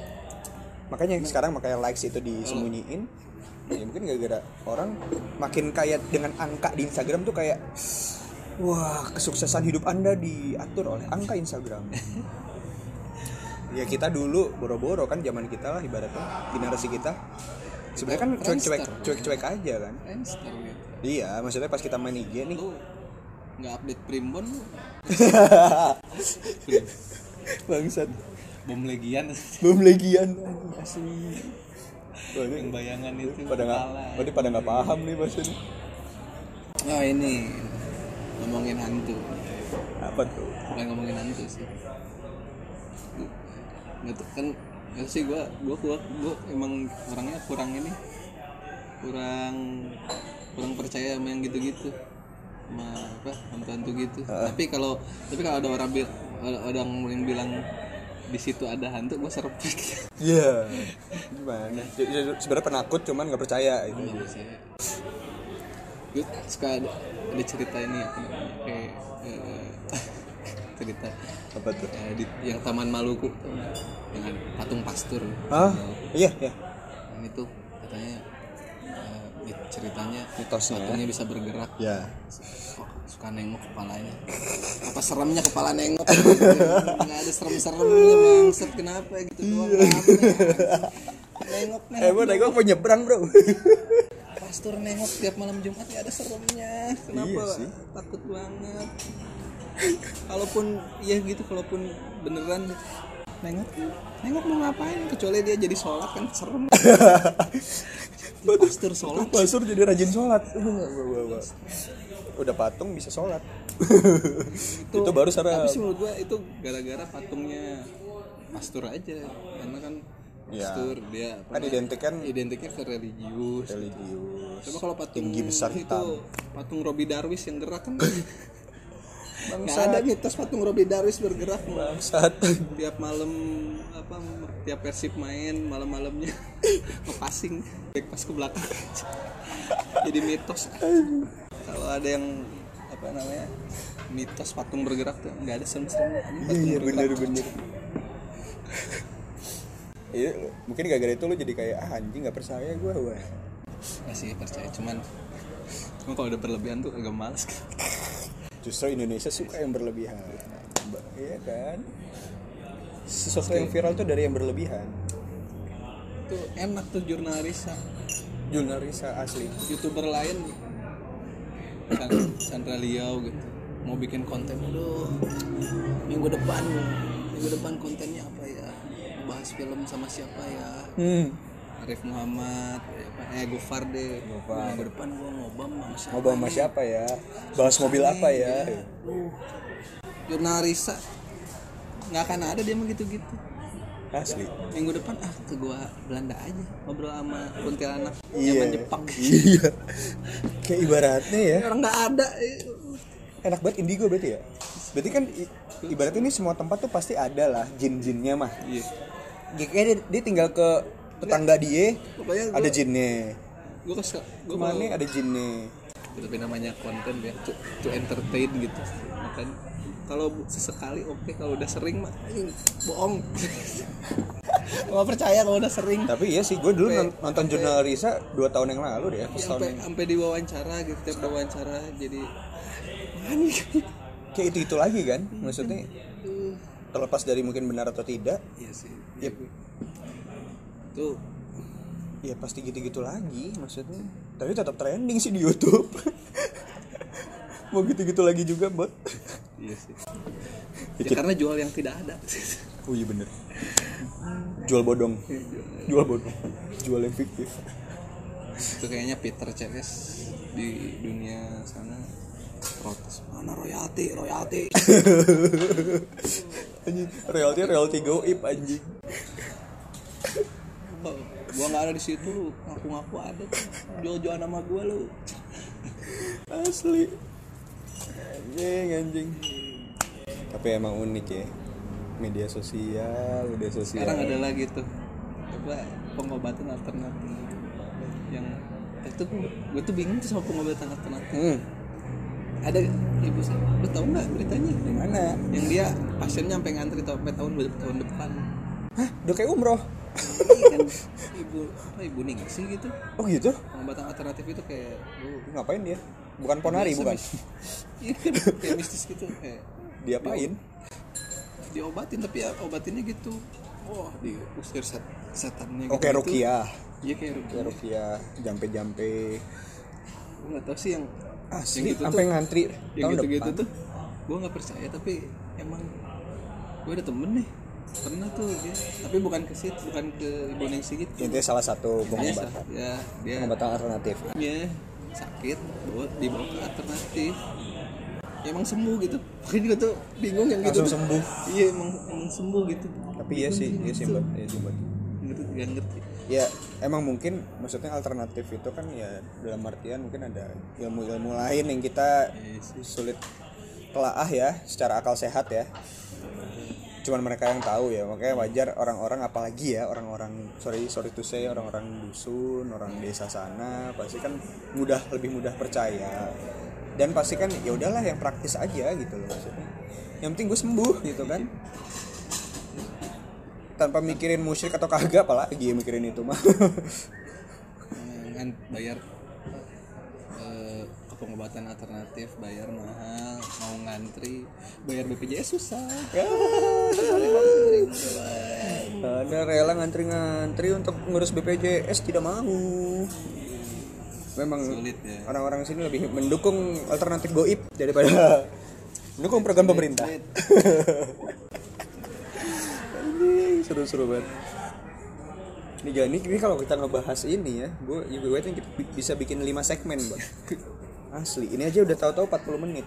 [SPEAKER 2] makanya sekarang makanya likes itu disembunyiin ya mungkin gara-gara orang makin kaya dengan angka di Instagram tuh kayak wah kesuksesan hidup anda diatur oleh angka Instagram ya kita dulu boro-boro kan zaman kita lah ibaratnya generasi kita sebenarnya kan cuek-cuek
[SPEAKER 1] Friendster.
[SPEAKER 2] cuek-cuek aja kan
[SPEAKER 1] Friendster gitu
[SPEAKER 2] iya maksudnya pas kita main IG nih
[SPEAKER 1] lu nggak update primbon lu
[SPEAKER 2] bangsat
[SPEAKER 1] bom legian
[SPEAKER 2] belum legian asli Banyak
[SPEAKER 1] yang bayangan itu
[SPEAKER 2] pada nggak
[SPEAKER 1] kepala.
[SPEAKER 2] berarti pada nggak paham nih maksudnya
[SPEAKER 1] oh ini ngomongin hantu
[SPEAKER 2] apa tuh
[SPEAKER 1] bukan ngomongin hantu sih nggak tuh kan nggak sih gua gua gua gua emang orangnya kurang ini kurang kurang percaya sama yang gitu-gitu sama apa hantu-hantu gitu tapi kalau tapi kalau ada orang bil ada ada orang yang bilang di situ ada hantu gua Gitu. serempet
[SPEAKER 2] iya gimana Ya, ya, sebenarnya penakut cuman nggak percaya gitu
[SPEAKER 1] Nggak percaya. Gue suka ada, ada cerita ini ya kayak eh, cerita
[SPEAKER 2] apa tuh
[SPEAKER 1] eh, di, yang Taman Maluku tau nggak? yang ada patung pastur.
[SPEAKER 2] ah iya iya
[SPEAKER 1] Ini tuh katanya eh, di- ceritanya
[SPEAKER 2] mitosnya
[SPEAKER 1] patungnya bisa bergerak
[SPEAKER 2] ya
[SPEAKER 1] Kok suka nengok kepalanya apa seremnya kepala nengok nggak ada serem-seremnya bangset kenapa gitu doang rame. nengok nengok
[SPEAKER 2] eh bro gue mau nyebrang bro
[SPEAKER 1] Pastor nengok tiap malam Jumat ya ada seremnya. Kenapa?
[SPEAKER 2] Iya sih.
[SPEAKER 1] Takut banget. kalaupun ya gitu, kalaupun beneran nengok, nengok mau ngapain? Kecuali dia jadi sholat kan serem. Pastor sholat.
[SPEAKER 2] Pasur jadi rajin sholat Wah, wah, wah, wah. udah patung bisa sholat itu,
[SPEAKER 1] gitu. Tapi
[SPEAKER 2] baru secara
[SPEAKER 1] sih menurut gua itu gara-gara patungnya pastor aja, karena kan
[SPEAKER 2] Ya.
[SPEAKER 1] pastor dia apa
[SPEAKER 2] kan
[SPEAKER 1] namanya,
[SPEAKER 2] identikan
[SPEAKER 1] identiknya ke religius.
[SPEAKER 2] religius
[SPEAKER 1] Coba kalau patung
[SPEAKER 2] Tinggi besar
[SPEAKER 1] itu
[SPEAKER 2] hitam.
[SPEAKER 1] patung Robi Darwis yang gerak kan nggak ada mitos patung Robi Darwis bergerak Mbak.
[SPEAKER 2] bangsat
[SPEAKER 1] tiap malam apa tiap persib main malam-malamnya ngepassing back pas ke belakang jadi mitos kalau ada yang apa namanya mitos patung bergerak tuh nggak ada serem-seremnya Ini patung
[SPEAKER 2] iya
[SPEAKER 1] bergerak.
[SPEAKER 2] bener bener Iya, mungkin gara-gara itu lo jadi kayak ah, anjing nggak percaya gue wah
[SPEAKER 1] masih percaya cuman cuma kalau udah berlebihan tuh agak males
[SPEAKER 2] justru Indonesia suka yang berlebihan Ba- iya kan sesuatu yang viral tuh dari yang berlebihan
[SPEAKER 1] itu enak tuh jurnalisa
[SPEAKER 2] Junarisa asli
[SPEAKER 1] youtuber lain Chan- Chandra Liau gitu mau bikin konten aduh minggu depan minggu depan kontennya apa ya bahas film sama siapa ya
[SPEAKER 2] hmm.
[SPEAKER 1] Arif Muhammad ya apa? eh Gofar deh
[SPEAKER 2] Gofar.
[SPEAKER 1] minggu depan gua ngobam sama siapa
[SPEAKER 2] mau bahas sama siapa ya bahas mobil apa ya
[SPEAKER 1] uh, Jurnalisa nggak akan ada dia mah gitu-gitu
[SPEAKER 2] asli
[SPEAKER 1] minggu depan ah ke gua Belanda aja ngobrol sama kuntilanak
[SPEAKER 2] iya
[SPEAKER 1] zaman Jepang
[SPEAKER 2] iya kayak ibaratnya ya
[SPEAKER 1] orang nggak ada
[SPEAKER 2] enak banget indigo berarti ya berarti kan i- ibaratnya ini semua tempat tuh pasti ada lah jin-jinnya mah
[SPEAKER 1] iya
[SPEAKER 2] Ya, kayaknya dia, dia tinggal ke tetangga dia
[SPEAKER 1] pokoknya gua-
[SPEAKER 2] ada jinnya
[SPEAKER 1] gue kesel gue mau
[SPEAKER 2] kemana ada jinnya
[SPEAKER 1] tapi namanya konten ya to, to entertain gitu makanya kalau bu- sesekali oke kalau udah sering mah ini bohong nggak percaya kalau udah sering
[SPEAKER 2] tapi iya sih gue dulu non- nonton jurnal Risa dua tahun yang lalu deh ya, pas tahun
[SPEAKER 1] sampai
[SPEAKER 2] yang-
[SPEAKER 1] sampai diwawancara gitu tiap diwawancara jadi aneh
[SPEAKER 2] kayak itu itu lagi kan maksudnya terlepas dari mungkin benar atau tidak
[SPEAKER 1] iya sih
[SPEAKER 2] Yep.
[SPEAKER 1] tuh
[SPEAKER 2] ya pasti gitu gitu lagi maksudnya tapi tetap trending sih di YouTube mau gitu gitu lagi juga buat
[SPEAKER 1] iya sih ya, karena jual yang tidak ada
[SPEAKER 2] oh iya bener jual bodong Iya, jual bodong jual yang fiktif
[SPEAKER 1] itu kayaknya Peter CS di dunia sana protes mana royalti royalti
[SPEAKER 2] anjing realty realty goib anjing
[SPEAKER 1] Ba- gua nggak ada di situ lu ngaku-ngaku ada tuh. jual-jualan nama gua lu
[SPEAKER 2] Asli. Anjing, anjing. Tapi emang unik ya. Media sosial, media sosial.
[SPEAKER 1] sekarang ada lagi tuh apa pengobatan alternatif yang teh tuh gue tuh bingung tuh sama pengobat angkat penat
[SPEAKER 2] Hmm,
[SPEAKER 1] ada ibu saya lu tau nggak beritanya
[SPEAKER 2] gimana?
[SPEAKER 1] yang dia pasien nyampe ngantri sampai tahun tahun depan
[SPEAKER 2] Hah, Ah, udah kayak umroh.
[SPEAKER 1] Iya kan ibu apa ibu ningsih gitu
[SPEAKER 2] Oh gitu?
[SPEAKER 1] pengobat alternatif itu kayak lu
[SPEAKER 2] Ngapain dia? Bukan ponari,
[SPEAKER 1] Biasa,
[SPEAKER 2] bukan?
[SPEAKER 1] mis- iya kan kayak mistis gitu kayak
[SPEAKER 2] Diapain?
[SPEAKER 1] diobatin tapi ya obatinnya gitu wah diusir set, setannya gitu
[SPEAKER 2] Oke, Rukiah.
[SPEAKER 1] iya kayak rukia
[SPEAKER 2] Ya Rukiah, jampe-jampe.
[SPEAKER 1] gue nggak tahu sih yang
[SPEAKER 2] Asli,
[SPEAKER 1] yang gitu
[SPEAKER 2] sampai
[SPEAKER 1] tuh
[SPEAKER 2] ngantri
[SPEAKER 1] yang
[SPEAKER 2] tahun
[SPEAKER 1] gitu gitu
[SPEAKER 2] depan.
[SPEAKER 1] tuh gue nggak percaya tapi emang gue ada temen nih pernah tuh dia tapi bukan ke situ bukan ke Indonesia gitu
[SPEAKER 2] Itu salah
[SPEAKER 1] Dia
[SPEAKER 2] satu pengobatan.
[SPEAKER 1] sa- ya dia
[SPEAKER 2] Pengobatan alternatif.
[SPEAKER 1] dia sakit bawa dibawa ke alternatif Ya, emang sembuh gitu makanya gue tuh bingung yang gitu
[SPEAKER 2] Langsung
[SPEAKER 1] tuh.
[SPEAKER 2] sembuh.
[SPEAKER 1] iya emang emang sembuh gitu
[SPEAKER 2] Tapi iya sih, iya sih, Mbak. Iya sih, Mbak.
[SPEAKER 1] ngerti gak ngerti
[SPEAKER 2] ya emang mungkin maksudnya alternatif itu kan ya dalam artian mungkin ada ilmu-ilmu lain yang kita sulit telaah ya secara akal sehat ya cuman mereka yang tahu ya makanya wajar orang-orang apalagi ya orang-orang sorry sorry to say orang-orang dusun orang desa sana pasti kan mudah lebih mudah percaya dan pasti kan ya udahlah yang praktis aja gitu loh maksudnya yang penting gue sembuh gitu kan tanpa mikirin musyrik atau kagak apalagi ya mikirin itu mah
[SPEAKER 1] Eh, kan bayar eh, ke pengobatan alternatif bayar mahal mau ngantri bayar BPJS susah
[SPEAKER 2] Ya,
[SPEAKER 1] Ngantri.
[SPEAKER 2] Anda rela ngantri-ngantri untuk ngurus BPJS tidak mau. Memang
[SPEAKER 1] sulit ya
[SPEAKER 2] orang-orang sini lebih mendukung alternatif goib daripada mendukung program pemerintah. Anjing, Seru-seru banget. Ini jadi ini kalau kita ngebahas ini ya, gue juga gue kita bisa bikin 5 segmen, Bang. Asli, ini aja udah tahu-tahu 40 menit.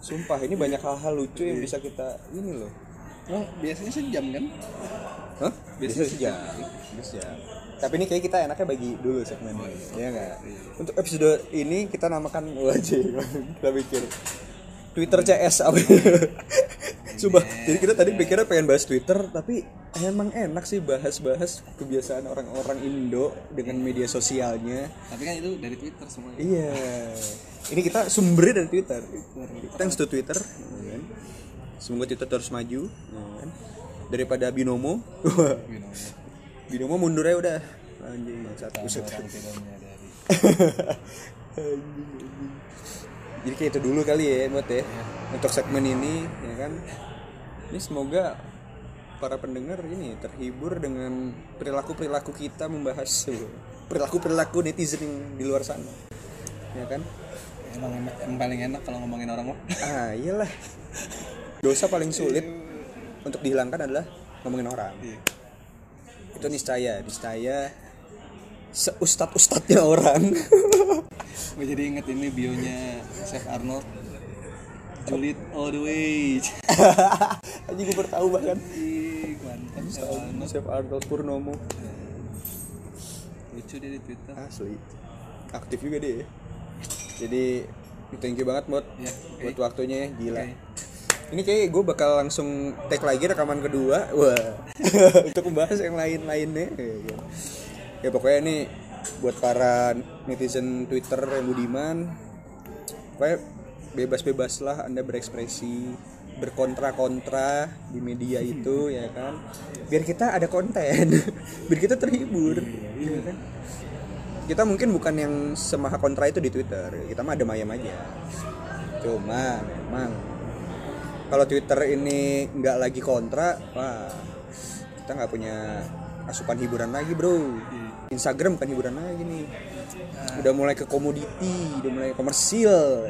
[SPEAKER 2] Sumpah, ini banyak hal-hal lucu yang bisa kita ini loh.
[SPEAKER 1] Wah, biasanya sejam kan
[SPEAKER 2] Hah?
[SPEAKER 1] Biasanya
[SPEAKER 2] Biasanya sejam. Biasanya sejam. Tapi ini kayak kita enaknya bagi dulu segmen ini. Iya enggak? Untuk episode ini kita namakan wajib. kita pikir Twitter CS apa? Coba. Jadi kita tadi pikirnya pengen bahas Twitter, tapi emang enak sih bahas-bahas kebiasaan orang-orang Indo dengan media sosialnya.
[SPEAKER 1] tapi kan itu dari Twitter semuanya
[SPEAKER 2] Iya. Ini kita sumbernya dari Twitter. Thanks to Twitter. ya kan? Semoga Twitter terus maju. ya kan? Daripada binomo.
[SPEAKER 1] You know, ya.
[SPEAKER 2] Binomo mundur aja udah. Anjing bangsat. Buset.
[SPEAKER 1] orang tidak menyadari
[SPEAKER 2] Anjing, anjing. Jadi kayak itu dulu kali ya buat ya. Untuk segmen ini ya kan. Ini semoga para pendengar ini terhibur dengan perilaku-perilaku kita membahas perilaku-perilaku netizen yang di luar sana. Ya kan?
[SPEAKER 1] emang emang emang paling enak kalau ngomongin orang mah
[SPEAKER 2] Ah, iyalah. Dosa paling sulit untuk dihilangkan adalah ngomongin orang. Itu niscaya, niscaya seustat-ustadnya orang.
[SPEAKER 1] gue jadi inget ini bionya Chef Arnold Julid all the way
[SPEAKER 2] Aja gue bertahu bahkan.
[SPEAKER 1] Ih, mantap Chef Arnold
[SPEAKER 2] Chef Arnold Purnomo
[SPEAKER 1] lucu dia di Twitter
[SPEAKER 2] asli aktif juga dia. ya. Jadi thank you banget buat
[SPEAKER 1] Ya, oke.
[SPEAKER 2] buat waktunya ya, gila.
[SPEAKER 1] Oke.
[SPEAKER 2] Ini kayak gue bakal langsung take lagi rekaman kedua, wah untuk membahas yang lain-lainnya. Ya, ya. Ya, pokoknya ini buat para netizen Twitter yang budiman, pokoknya bebas-bebaslah anda berekspresi, berkontra-kontra di media itu ya kan. Biar kita ada konten, biar kita terhibur.
[SPEAKER 1] Iya,
[SPEAKER 2] ya kan? Kita mungkin bukan yang semaha kontra itu di Twitter, kita mah ada mayam aja. Cuma memang kalau Twitter ini nggak lagi kontra, wah kita nggak punya asupan hiburan lagi bro. Instagram bukan hiburan lagi nih. Udah mulai ke komoditi, udah mulai komersil.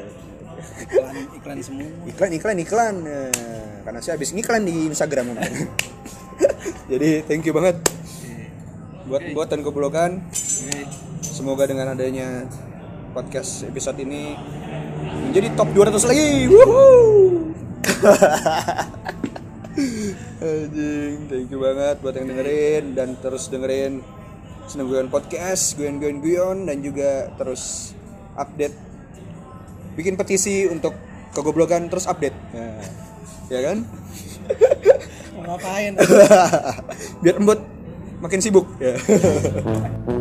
[SPEAKER 1] iklan iklan semua
[SPEAKER 2] Iklan, iklan, iklan. Nah, Karena saya habis ngiklan di Instagram kemarin. Jadi thank you banget
[SPEAKER 1] Iya.
[SPEAKER 2] buat buat dan keblogan.
[SPEAKER 1] Oke.
[SPEAKER 2] Semoga dengan adanya podcast episode ini menjadi top 200 lagi. Woohoo. Anjing, thank you banget buat yang dengerin dan terus dengerin Seneng Guyon Podcast, Guyon Guyon Guyon dan juga terus update bikin petisi untuk kegoblokan terus update. Ya, ya kan?
[SPEAKER 1] mau ngapain
[SPEAKER 2] Biar embut makin sibuk. Ya.